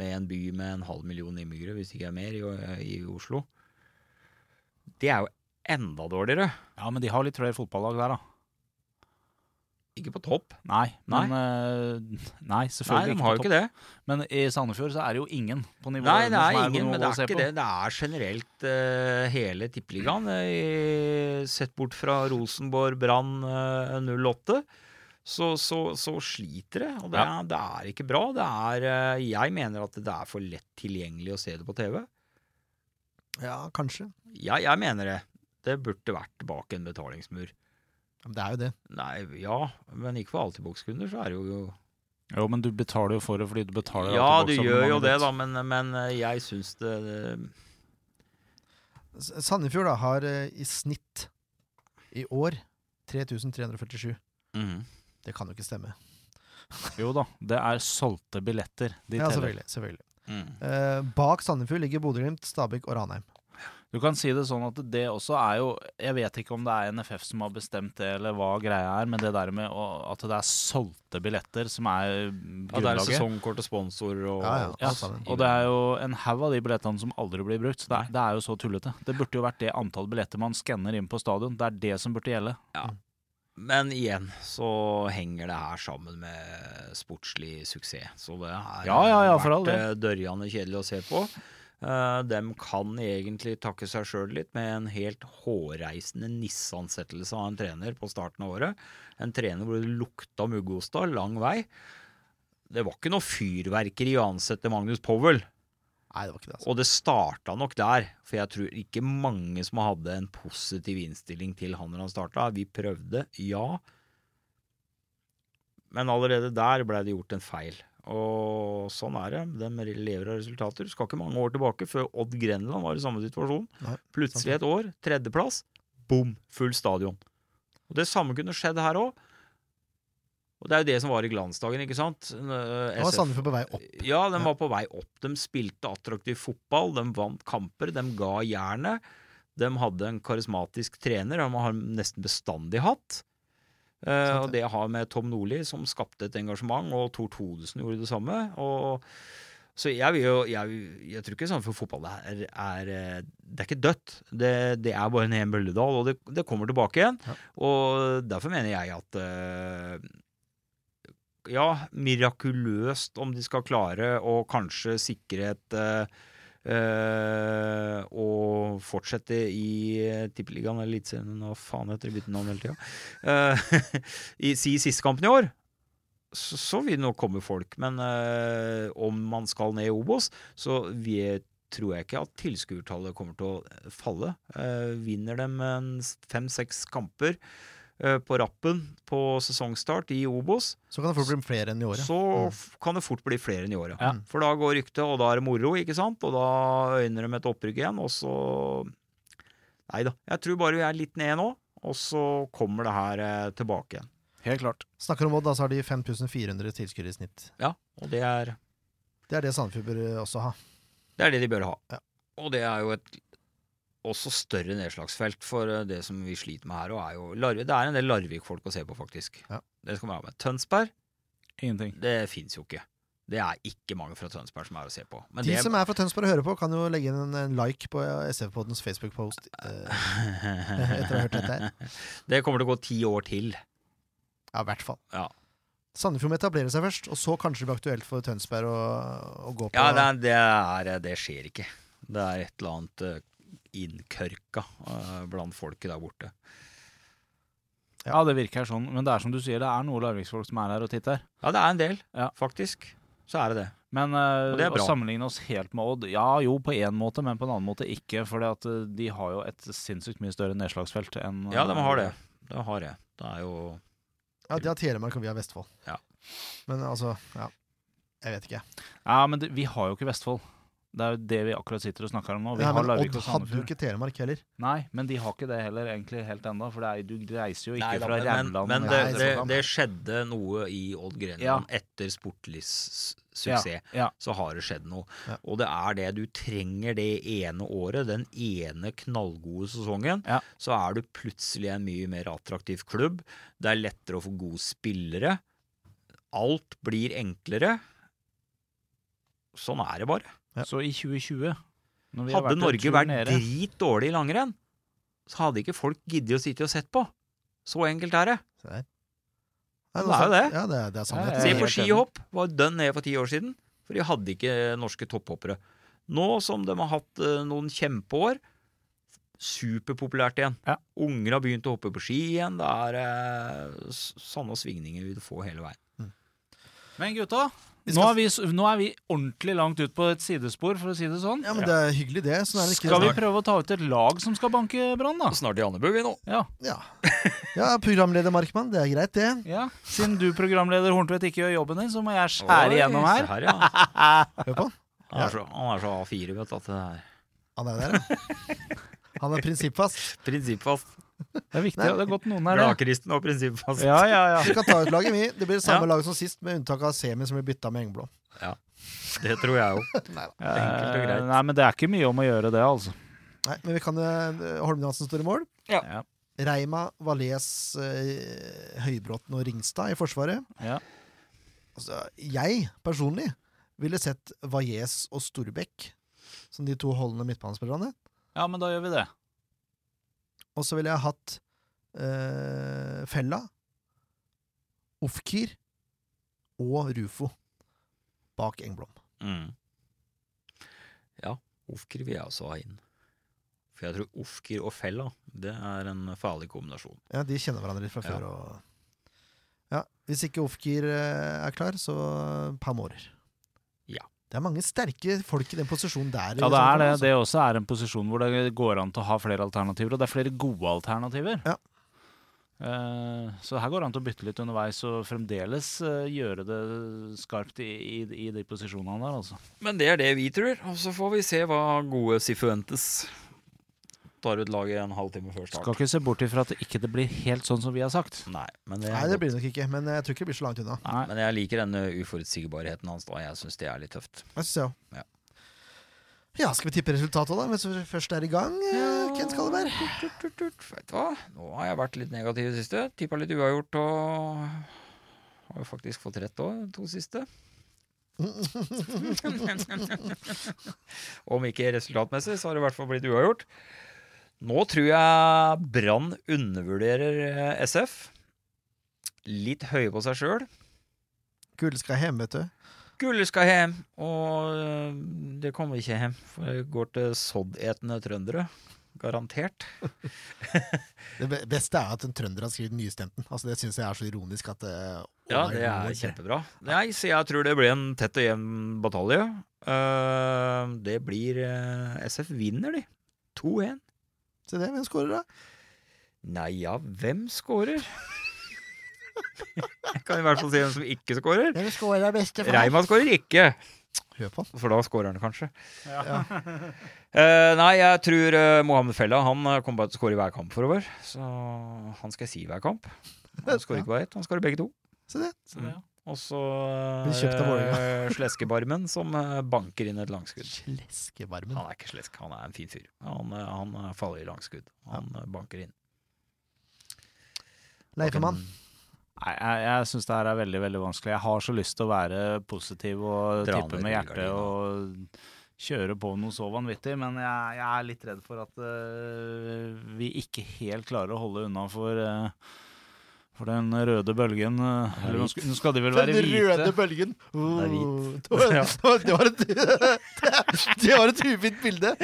S2: med en by med en halv million innbyggere, hvis det ikke er mer, i, i Oslo, det er jo enda dårligere.
S6: Ja, men de har litt flere fotballag der, da.
S2: Ikke på topp.
S6: Nei, men eh, Nei,
S2: Nei,
S6: selvfølgelig
S2: de
S6: ikke. på
S2: har jo
S6: topp.
S2: ikke det.
S6: Men i Sandefjord så er det jo ingen på nivå
S2: Nei, det
S6: som
S2: er
S6: på
S2: ingen, men det
S6: nivå å
S2: er
S6: se
S2: ikke
S6: på.
S2: det. Det er generelt eh, hele tippeligaen, eh, sett bort fra Rosenborg, Brann eh, 08. Så, så, så sliter det, og det,
S6: Ja.
S2: er, det er ikke bra. Det er, eh, jeg mener at det er for lett tilgjengelig å se det på TV.
S3: Ja, kanskje.
S2: Jeg, jeg mener det. Det burde vært bak en betalingsmur.
S3: Ja, Men det er jo det.
S2: Nei, ja, men ikke for alltibokskunder, så er det jo
S6: Jo, men du betaler jo for det fordi du betaler
S2: Ja,
S6: alltid
S2: du
S6: boksabonnementet
S2: gjør jo det,
S6: ditt.
S2: da, men, men eh, jeg syns det, det
S3: S- Sandefjord da har eh, i snitt i år 3347.
S2: Mhm.
S3: Det kan jo ikke stemme.
S6: Jo da, det er solgte billetter. De
S3: Ja,
S6: teller.
S3: selvfølgelig. selvfølgelig.
S2: Mhm.
S3: Eh, bak Sandefjord ligger Bodø-Glimt, Stabæk og Ranheim.
S6: Du kan si det sånn at det også er jo Jeg vet ikke om det er NFF som har bestemt det, eller hva greia er, men det der med å, at det er solgte billetter som er
S2: Ja, det er
S6: grunnlaget.
S2: sesongkort og sponsor og
S3: Ja, ja,
S2: alt
S3: alt
S6: Ja,
S3: sammen.
S6: og det er jo en haug av de billettene som aldri blir brukt. så Det
S2: Mm.
S6: er, det er jo så tullete. Det burde jo vært det antall billetter man skanner inn på stadion. Det er det som burde gjelde.
S2: Men igjen så henger det her sammen med sportslig suksess. Så det har
S6: Ja, ja, ja, for all
S2: vært eh, dørjande kjedelig å se på. Eh, dem kan egentlig takke seg sjøl litt med en helt hårreisende nisseansettelse av en trener på starten av året. En trener hvor det lukta muggosta lang vei. Det var ikke noe fyrverkeri å ansette Magnus Powell.
S3: Nei, det var ikke det. altså.
S2: Og det starta nok der, for jeg tror ikke mange som hadde en positiv innstilling til han når han starta. Vi prøvde, ja. Men allerede der ble det gjort en feil. Og sånn er det. De lever av resultater. Skal ikke mange år tilbake før Odd Grenland var i samme situasjon.
S3: Nei,
S2: Plutselig et år, tredjeplass, bom, full stadion. Og Det samme kunne skjedd her òg. Og det er jo det som var i glansdagen, ikke sant? eh,
S3: Nå var Sandefjord på vei opp.
S2: Ja, de
S3: Ja.
S2: var på vei opp. De spilte attraktiv fotball, de vant kamper, de ga jernet. De hadde en karismatisk trener, han har nesten bestandig hatt. Eh,
S3: Sant
S2: og det har med Tom Nordli, som skapte et engasjement, og Tor Thodesen gjorde det samme. Og, så jeg vil jo Jeg, jeg tror ikke Sandefjord fotball er, er eh, Det er ikke dødt. Det, det er bare en hel bølledal, og det, det kommer tilbake igjen.
S3: Ja.
S2: Og derfor mener jeg at eh, ja, mirakuløst om de skal klare å kanskje sikre et eh, eh, og fortsette i eh, Tippeligaen eller Eliteserien Nå faen heter det bytte navn hele tida. Eh, (laughs) i- Si siste kampen i år, så, så vil det nok komme folk. Men eh, om man skal ned i Obos, så vi, tror jeg ikke at tilskuertallet kommer til å falle. Eh, vinner de fem-seks kamper eh, på rappen på sesongstart i Obos,
S3: Så kan det fort bli flere enn i året.
S2: så f- kan det fort bli flere enn i året.
S6: Ja.
S2: For da går ryktet, og da er det moro, ikke sant? Og da øyner de et opprykk igjen, og så Nei da. Jeg tror bare vi er litt nede nå, og så kommer det her eh, tilbake igjen.
S6: Helt klart.
S3: Snakker om Odd, da så har de 5400 tilskuere i snitt.
S2: Ja, og det er
S3: Det er det Sandefjord bør eh, også ha.
S2: det, er det de bør ha.
S3: Ja.
S2: Og det er jo et også større nedslagsfelt for eh, det som vi sliter med her. Og er jo Larvik, det er en del Larvik-folk å se på, faktisk.
S3: Ja.
S2: Det skal man ha med. Tønsberg,
S6: Ingenting.
S2: det fins jo ikke. Det er ikke mange fra Tønsberg som er å se på. Men
S3: De
S2: det,
S3: som er fra Tønsberg og hører på, kan jo legge inn en, en like på SF-poddens Facebook-post. Eh, (laughs) etter å ha hørt dette her.
S2: (laughs) det kommer til å gå ti år til.
S3: Ja, i hvert fall.
S2: Ja.
S3: Sandefjord må etablere seg først, og så kanskje det blir aktuelt for Tønsberg å, å gå på
S2: Ja, det, er- det, er, eh, det skjer ikke. Det er et eller annet eh, innkørka eh, blant folket der borte.
S6: Ja, det virker sånn. Men det er som du sier, det er noe Larviksfolk som er her og titter.
S2: Ja, det er en del,
S6: Ja.
S2: faktisk. Så er det det.
S6: Men
S2: Og
S6: eh,
S2: det er
S6: å
S2: bra.
S6: sammenligne oss helt med Odd Ja, jo, på én måte, men på en annen måte ikke. For de har jo et sinnssykt mye større nedslagsfelt enn eh,
S2: Ja, de har det. Det har jeg. Det er jo
S3: Ja, de har Telemark, og vi har Vestfold.
S2: Ja.
S3: Men altså, ja. Jeg vet ikke.
S6: Ja, men det, vi har jo ikke Vestfold. Det er jo det vi akkurat sitter og snakker om nå. Vi
S3: Ja,
S6: har
S3: men
S6: Larvik
S3: Odd
S6: og
S3: hadde jo
S6: Sandefjord.
S3: ikke Telemark heller.
S6: Nei, men de har ikke det heller egentlig helt ennå. For det er, du reiser jo ikke
S2: Nei da,
S6: fra
S2: men,
S6: Rauland.
S2: men det,
S3: Nei,
S2: det,
S3: det var
S2: det skjedde noe i Odd Grenland
S6: Ja.
S2: etter Sportlys suksess.
S6: Ja, ja.
S2: Så har det skjedd noe.
S3: Ja.
S2: Og det er det. Du trenger det ene året, den ene knallgode sesongen.
S6: Ja.
S2: Så er du plutselig en mye mer attraktiv klubb. Det er lettere å få gode spillere. Alt blir enklere. Sånn er det bare.
S6: Så i 2020 når vi har
S2: Hadde
S6: en tur
S2: Norge vært
S6: nede-
S2: dritdårlig i langrenn, så hadde ikke folk giddet å sitte og sett på. Så enkelt er det.
S3: Se der. Nei,
S2: Det er jo
S3: sant.
S2: det.
S3: Ja, det, er- det er
S6: Ja,
S3: sannhet.
S6: ja,
S2: Se
S6: ja.
S2: på
S6: Eh, helt
S2: skihopp. Var dønn ned for ti år siden. For de hadde ikke norske topphoppere. Nå som de har hatt eh, noen kjempeår, superpopulært igjen.
S6: Ja.
S2: Unger har begynt å hoppe på ski igjen. Det er eh, s- sånne svingninger vi får hele veien.
S6: Men gutta,
S3: Vi
S6: nå,
S3: skal-
S6: er vi, s- nå er vi ordentlig langt ut på et sidespor, for å si det sånn.
S3: Ja, men det er hyggelig, det. Sånn er det ikke
S6: Skal vi prøve å ta ut et lag som skal banke Brann, da?
S2: Snart i Andebu, vi nå.
S6: Ja.
S3: Ja. ja, programleder Markmann, det er greit, det.
S6: ja. Siden du, programleder Horntvedt, ikke gjør jobben din, så må jeg skjære igjennom
S2: Oi, se
S6: her.
S2: ja.
S6: (laughs)
S3: Hør på han.
S2: Han er så, han er så A4, vet du. At det er
S3: Han er der, ja. Han er prinsippfast.
S2: prinsippfast.
S6: Det er viktig, og det er godt noen her. ja.
S2: Gladkristen og prinsippfast.
S6: Ja, ja, ja.
S3: Vi skal ta ut laget, vi. Det blir det samme
S2: Ja.
S3: laget som sist, med unntak av semi, som blir bytta med engblå.
S2: Det tror jeg jo. Enkelt og
S6: Eh,
S2: greit.
S6: Nei, men det er ikke mye om å gjøre det, altså.
S3: Nei, men vi kan eh, Holmen Johansen står i mål.
S6: Ja.
S3: Reima, Valais, eh, Høybråten og Ringstad i Forsvaret.
S6: Ja.
S3: Altså, jeg personlig ville sett Valais og Storbekk som de to holdende midtbanespillerne.
S6: ja, men da gjør vi det.
S3: Og så ville jeg hatt eh, Fella, Ofkir og Rufo bak Engblom.
S2: Mm. Ja, Ofker vil jeg også ha inn. For jeg tror Ofker og Fella, det er en farlig kombinasjon.
S3: Ja, de kjenner hverandre litt fra
S2: Ja.
S3: før. Og... Ja, hvis ikke Ofkir eh, er klar, så eh, Pamorer.
S2: Ja.
S3: Det er mange sterke folk i den posisjonen der. liksom.
S6: Ja, det er det.
S2: altså.
S6: Det også er en posisjon hvor det går an til å ha flere alternativer, og det er flere gode alternativer.
S3: Ja.
S6: Eh, så her går det an til å bytte litt underveis og fremdeles eh, gjøre det skarpt i, i, i de posisjonene der, altså.
S2: Men det er det vi tror, og så får vi se hva gode Sifuentes tar ut laget en halvtime før
S6: Skal
S2: start.
S6: ikke se bort ifra at det ikke blir helt sånn som vi har sagt.
S2: Nei, men, det
S3: Nei,
S2: er
S3: det
S2: godt.
S3: blir det nok ikke, men eh, jeg tror ikke det blir så langt unna.
S6: Nei.
S2: men jeg liker denne uforutsigbarheten hans, da. Jeg syns det er litt tøft.
S3: Jeg synes jeg også.
S2: Ja.
S3: Ja, skal vi tippe resultatet da, mens vi først er i gang, eh, Kent Skalleberg?
S2: Tut, tut, tut. Vet du hva, nå har jeg vært litt negativ i det siste. Tippa litt uavgjort og har jo faktisk fått rett òg, to siste. Om ikke resultatmessig, så har det i hvert fall blitt uavgjort. Nå tror jeg Brann undervurderer eh, SF. Litt høye på seg sjøl.
S3: Gull skal hjem, vet du.
S2: Gullet skal hjem, og eh, det kommer ikke hjem. For det går til soddetende trøndere. Garantert.
S3: Det be- beste er at en trønder har skrevet Nystemten. Altså, det syns jeg er så ironisk at eh,
S2: Ja,
S3: å,
S2: det er
S3: lord.
S2: kjempebra. Nei, så jeg tror det blir en tett og jevn batalje. Eh, det blir eh, SF vinner, de. 2-1.
S3: Se det, hvem scorer da?
S2: Nei ja, hvem scorer? (laughs) jeg kan i hvert fall si hvem som ikke scorer.
S3: Hvem scorer bestefar?
S2: Reima scorer ikke,
S3: Hør på han.
S2: for da scorer han kanskje. (laughs) Eh, nei, jeg tror eh, Mohammed Fella han eh, kommer bare til å score i hver kamp forover. Så han skal jeg si i hver kamp. Han scorer ikke bare ett, han scorer begge to.
S3: Se det.
S6: Så det, ja.
S2: Og så
S3: Blir kjøpt av
S2: eh, Sleskebarmen som eh, banker inn et langskudd.
S3: Leskevarmen.
S2: Han er ikke slesk, han er en fin fyr. Han, eh, han eh, faller i langskudd. Han eh, banker inn.
S3: Leifemann.
S6: Nei, jeg, jeg syns det her er veldig veldig vanskelig. Jeg har så lyst til å være positiv og
S2: Dra
S6: tippe
S2: ned
S6: med
S2: rullegardina.
S6: hjertet og kjøre på noe så vanvittig, men jeg, jeg er litt redd for at øh, vi ikke helt klarer å holde unna for, øh, for den røde bølgen. øh, eller nå skal, nå skal de vel være
S3: Den røde
S6: hvite.
S3: bølgen.
S2: er hvit.
S3: Oh, (laughs) det, var, det, var et, (laughs) det var et ufint bilde.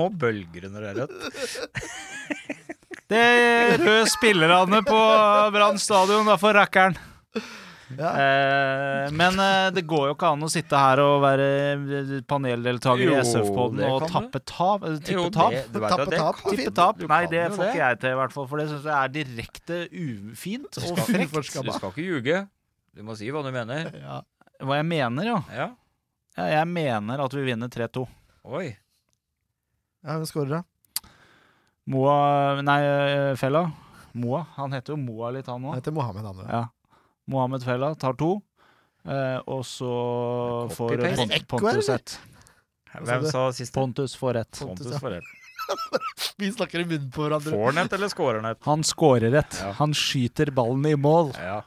S2: Og bølger under det
S3: (laughs)
S2: rødt.
S6: Det er røde spillerne på Brann stadion, da, for rakkeren.
S3: Ja.
S6: Eh, men eh, det går jo ikke an å sitte her og være eh, paneldeltaker i
S2: Jo,
S6: SF-poden
S2: det
S6: og
S2: kan
S6: tappe tap, eh, tippe
S2: Jo,
S6: tap.
S2: det- du vet at
S3: Tappe
S2: det
S3: tap.
S2: kan-
S6: Tippe tap.
S2: Du
S6: Nei,
S2: kan
S6: det
S2: jo
S6: får ikke jeg til, i hvert fall. For det syns jeg er direkte ufint og frekt.
S2: Du skal ikke ljuge. Du må si hva du mener.
S3: Ja.
S6: Hva jeg mener, ja.
S2: Ja.
S6: Ja, jeg mener at vi vinner 3-2.
S2: Oi.
S3: Ja, Hvem skårer, da?
S6: Moa Nei, eh, Fella. Moa. Han heter jo Moa litt, han
S3: Han
S6: òg.
S3: heter Mohammed Anwar.
S6: Ja. Mohammed Fella tar to. Eh, og så
S2: Det er
S6: får
S2: copy-paste.
S3: Er
S6: Pont
S3: det ekko,
S6: Pontus
S3: eller?
S6: ett.
S3: sa
S2: Hvem
S3: du?
S2: sa sist?
S6: Pontus får ett.
S2: Pontus
S3: ja.
S2: får rett.
S3: Vi snakker i munnen på hverandre.
S2: Får han et, eller
S3: (laughs)
S2: scorer han et?
S6: Han scorer ett.
S2: Ja.
S6: Han skyter ballen i mål.
S2: Ja.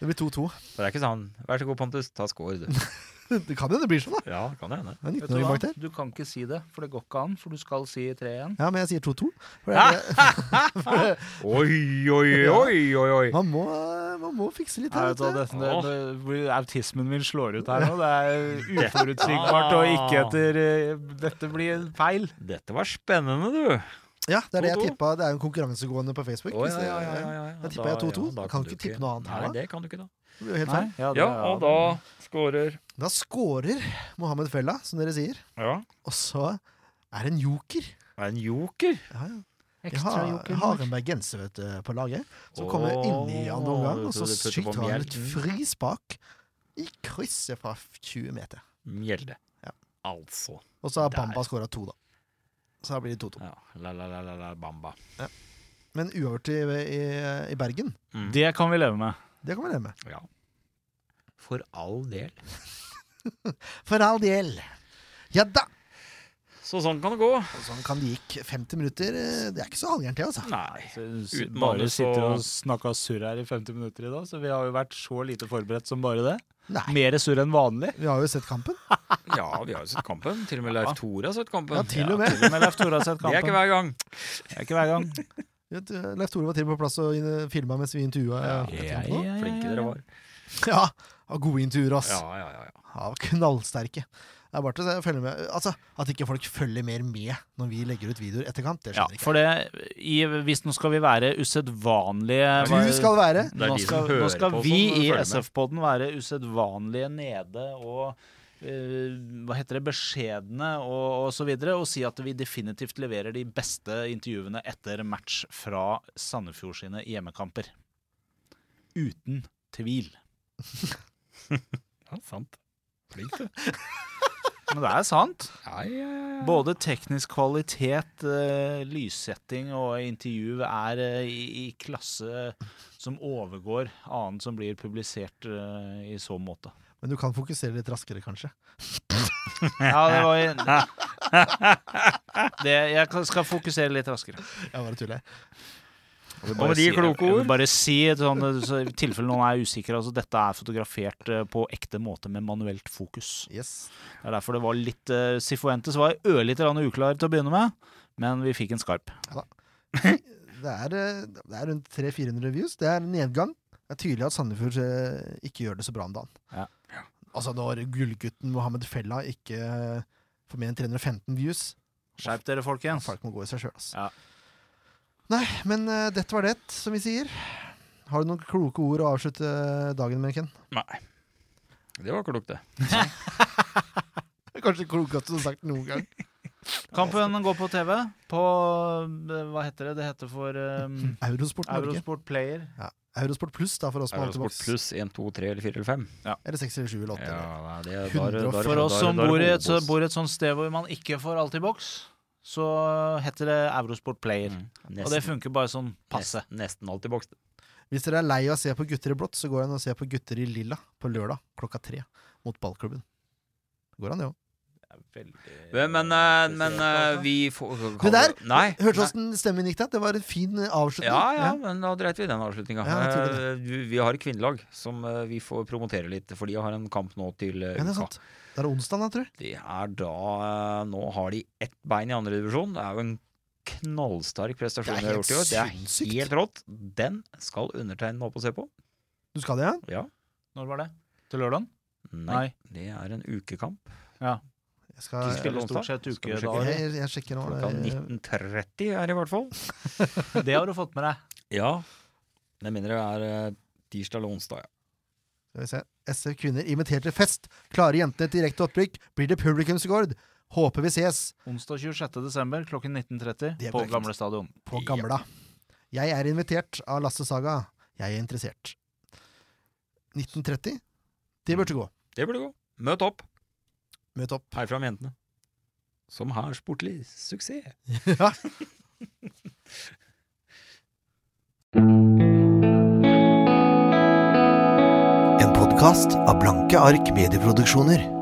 S3: Det blir 2-2.
S2: For det er ikke sånn Vær så god, Pontus, ta score, du.
S3: (laughs) Det kan jo det blir sånn, da.
S2: Ja, kan det hende.
S3: Det er
S6: Vet du,
S3: 19 år bak
S6: hva?
S3: der.
S6: du kan ikke si det, for det går ikke an. For du skal si 3-1.
S3: Ja, men jeg sier 2-2. For det er-
S2: Oi, oi, oi, oi, oi.
S3: Man, må, eh, man må fikse litt her,
S6: Nei, vet du hva,
S3: vet du.
S6: det, det, det, hvor autismen min slår ut her nå. Det er uforutsigbart og ikke etter eh, Dette blir feil.
S2: Dette var spennende, du.
S3: Ja, det er det jeg
S2: 2-2.
S3: tippa. Det er jo en konkurransegående på Facebook.
S2: Å,
S3: hvis det- Da tippa jeg
S2: Da-
S3: 2-2.
S2: da
S3: Da kan du ikke tippe noe annet
S2: Nei,
S3: her, da.
S2: det kan du ikke da.
S3: Det blir jo helt feil.
S6: ja, det-
S2: Ja, og da scorer
S3: Da scorer Mohammed Fella, som dere sier.
S2: Ja.
S3: Og så er det en joker.
S2: Det er en joker.
S3: Ja, ja. Jeg
S6: Ekstra
S3: har,
S6: joker.
S3: jeg har en bergenser vet du, på laget. Som kommer inn i andre omgang,
S2: Åh,
S3: og så
S2: du putter på
S3: skyter han et
S2: mjelten.
S3: frispark i krysset fra 20 meter.
S2: Mjelde.
S3: Ja.
S2: Altså.
S3: Og så har
S2: Der.
S3: Bamba skåra to, da. Så da blir det 2-2.
S2: Ja. La, la, la, la, la, bamba.
S3: Men uavgjort i, i, i Bergen,
S6: Det kan vi leve med.
S3: det kan vi leve med.
S2: Ja. For all del.
S3: For all del. Ja da!
S2: Så sånn kan det gå.
S3: Og sånn kan det gikk 50 minutter. eh, Det er ikke så halvgærent, det, altså.
S2: Nei.
S6: Så,
S2: Uten
S6: bare
S2: manus
S6: sitter
S2: og-
S6: og snakker surr her i 50 minutter i dag, så vi har jo vært så lite forberedt som bare det.
S3: Nei.
S6: Mer surr enn vanlig.
S3: Vi har jo sett kampen.
S2: Ja, vi har jo sett kampen. Til og med Leif Tore har sett kampen.
S3: Ja, til og med.
S6: Til og med Leif Tore har sett
S2: Det er ikke
S6: kampen.
S2: hver gang.
S6: Det er ikke hver gang.
S3: Vet du, Leif Tore var til og med på plass og filma mens vi intervjua. eh, etter kampen også.
S2: Flinke dere var.
S3: Ja, av gode intervjuer, ass.
S2: Ja, ja, ja. ja.
S3: Ja, knallsterke. Det er bare til å følge med. Altså, At ikke folk følger mer med når vi legger ut videoer etter kamp, det
S6: Ja,
S3: skjønner jeg ikke.
S6: for det, i, hvis nå skal vi være usedvanlige
S3: Du skal være
S2: Det er
S6: nå
S2: de som
S6: skal, nå
S2: hører
S6: skal
S2: på
S6: vi
S2: som
S6: i
S2: følger med.
S6: SF-podden være usedvanlige nede og eh, hva heter det, beskjedne og, og så videre, og si at vi definitivt leverer de beste intervjuene etter match fra Sandefjord sine hjemmekamper. Uten tvil.
S2: ja sant. Flink, du.
S6: Men det er sant.
S2: Ja, ja, ja, ja.
S6: Både teknisk kvalitet, eh, lyssetting og intervju er eh, i, i klasse som overgår annen som blir publisert eh, i så måte.
S3: Men du kan fokusere litt raskere, kanskje.
S6: Ja, det var det, Jeg kan- skal fokusere litt raskere.
S3: Jeg bare tuller.
S2: Og med de kloke
S6: Jeg vil
S2: ord.
S6: bare si, sånn, så i tilfelle noen er usikre, altså dette er fotografert eh, på ekte måte med manuelt fokus.
S3: Yes.
S6: Det er derfor det var litt uh, Sifuentes var ørlite grann uklar til å begynne med, men vi fikk en skarp.
S3: Det er, eh, det er rundt 300-400 views. Det er en nedgang. Det er tydelig at Sandefjord eh, ikke gjør det så bra om dagen.
S6: Ja.
S3: Altså, når gullgutten Mohammed Fella ikke eh, får mer enn 315 views
S6: Skjerp dere, folkens.
S3: Folk må gå i seg sjøl, altså.
S6: Ja.
S3: Nei, men eh, dette var det, som vi sier. Har du noen kloke ord å avslutte dagen med, Ken?
S2: Nei. Det var klokt, det.
S3: Kanskje det klokeste du har sagt noen gang.
S6: Kampen går på TV. På eh, Hva heter det? Det heter for (laughs) eh,
S3: (laughs) Eurosport Norge.
S6: Eurosport Player.
S3: Eurosport pluss, da, for oss på
S2: Eurosport
S3: Altibox.
S2: pluss 1, 2, 3 eller 4 eller 5.
S3: Eller 6 eller 7 eller 8. eller.
S2: Ja, nei, det er
S3: Hundre og-
S2: der, der,
S6: For
S2: der-
S6: oss
S2: der-
S6: som
S2: der
S6: bor i, et, så,
S2: hovedboss.
S6: bor i et sånt sted hvor man ikke får alt i boks, så heter det Eurosport Player.
S2: Mm.
S6: Og det
S2: Nesten-
S6: funker bare sånn passe.
S2: Nesten, nesten alltid boks.
S3: Hvis dere er lei av å se på gutter i blått, så går det an å se på gutter i lilla på lørdag klokka tre mot ballklubben. Går an, det òg.
S2: Men, men, eh, men eh, vi får
S3: Det der
S2: Nei.
S3: Hørte du
S2: nei.
S3: åssen stemmen gikk da? Det var en fin eh, avslutning.
S2: Ja, ja, men da dreit vi i den avslutninga.
S3: Ja, naturlig
S2: vi har et kvinnelag som eh, vi får promotere litt, for de har en kamp nå til eh,
S3: Ja, det er
S2: uka.
S3: sant. Det er onsdag, da, tror jeg.
S2: Det er da eh, Nå har de ett bein i andre divisjon. Det er jo en knallsterk prestasjon
S3: Det er
S2: de har
S3: helt
S2: gjort i år. Det er
S3: sinnssykt.
S2: helt rått. Den skal undertegnede opp og se på.
S3: Du skal det, ja?
S2: Ja.
S6: Når var det? Til lørdag?
S2: Nei, det er en ukekamp.
S3: Jeg,
S2: De
S3: skal,
S2: spiller
S6: Eller stort
S2: onsdag.
S6: sett
S2: Skal vi
S3: jeg,
S2: sjekke det?
S6: ukedager.
S3: jeg, jeg sjekker nå.
S2: Klokka
S3: eh,
S2: 19.30 er det i hvert fall.
S6: (laughs) Det har du fått med deg.
S2: Ja. Det mener det er eh, tirsdag eller onsdag, ja.
S3: Skal vi se. SF Kvinner invitert til fest. Klare jentene til direkte opprykk. Blir det publikumsrekord? Håper vi ses
S6: Onsdag 26. desember klokken 19.30
S3: Det er
S6: på
S3: korrekt.
S6: Gamle Stadion.
S3: på Gamla. Jeg er invitert av Lasse Saga. Jeg er interessert. 1930? Det burde gå.
S2: Det burde gå. Møt opp.
S7: Møt opp.
S2: Hei fram jentene. Som har sportlig suksess.
S7: Ja.
S3: En podkast av Blanke ark medieproduksjoner.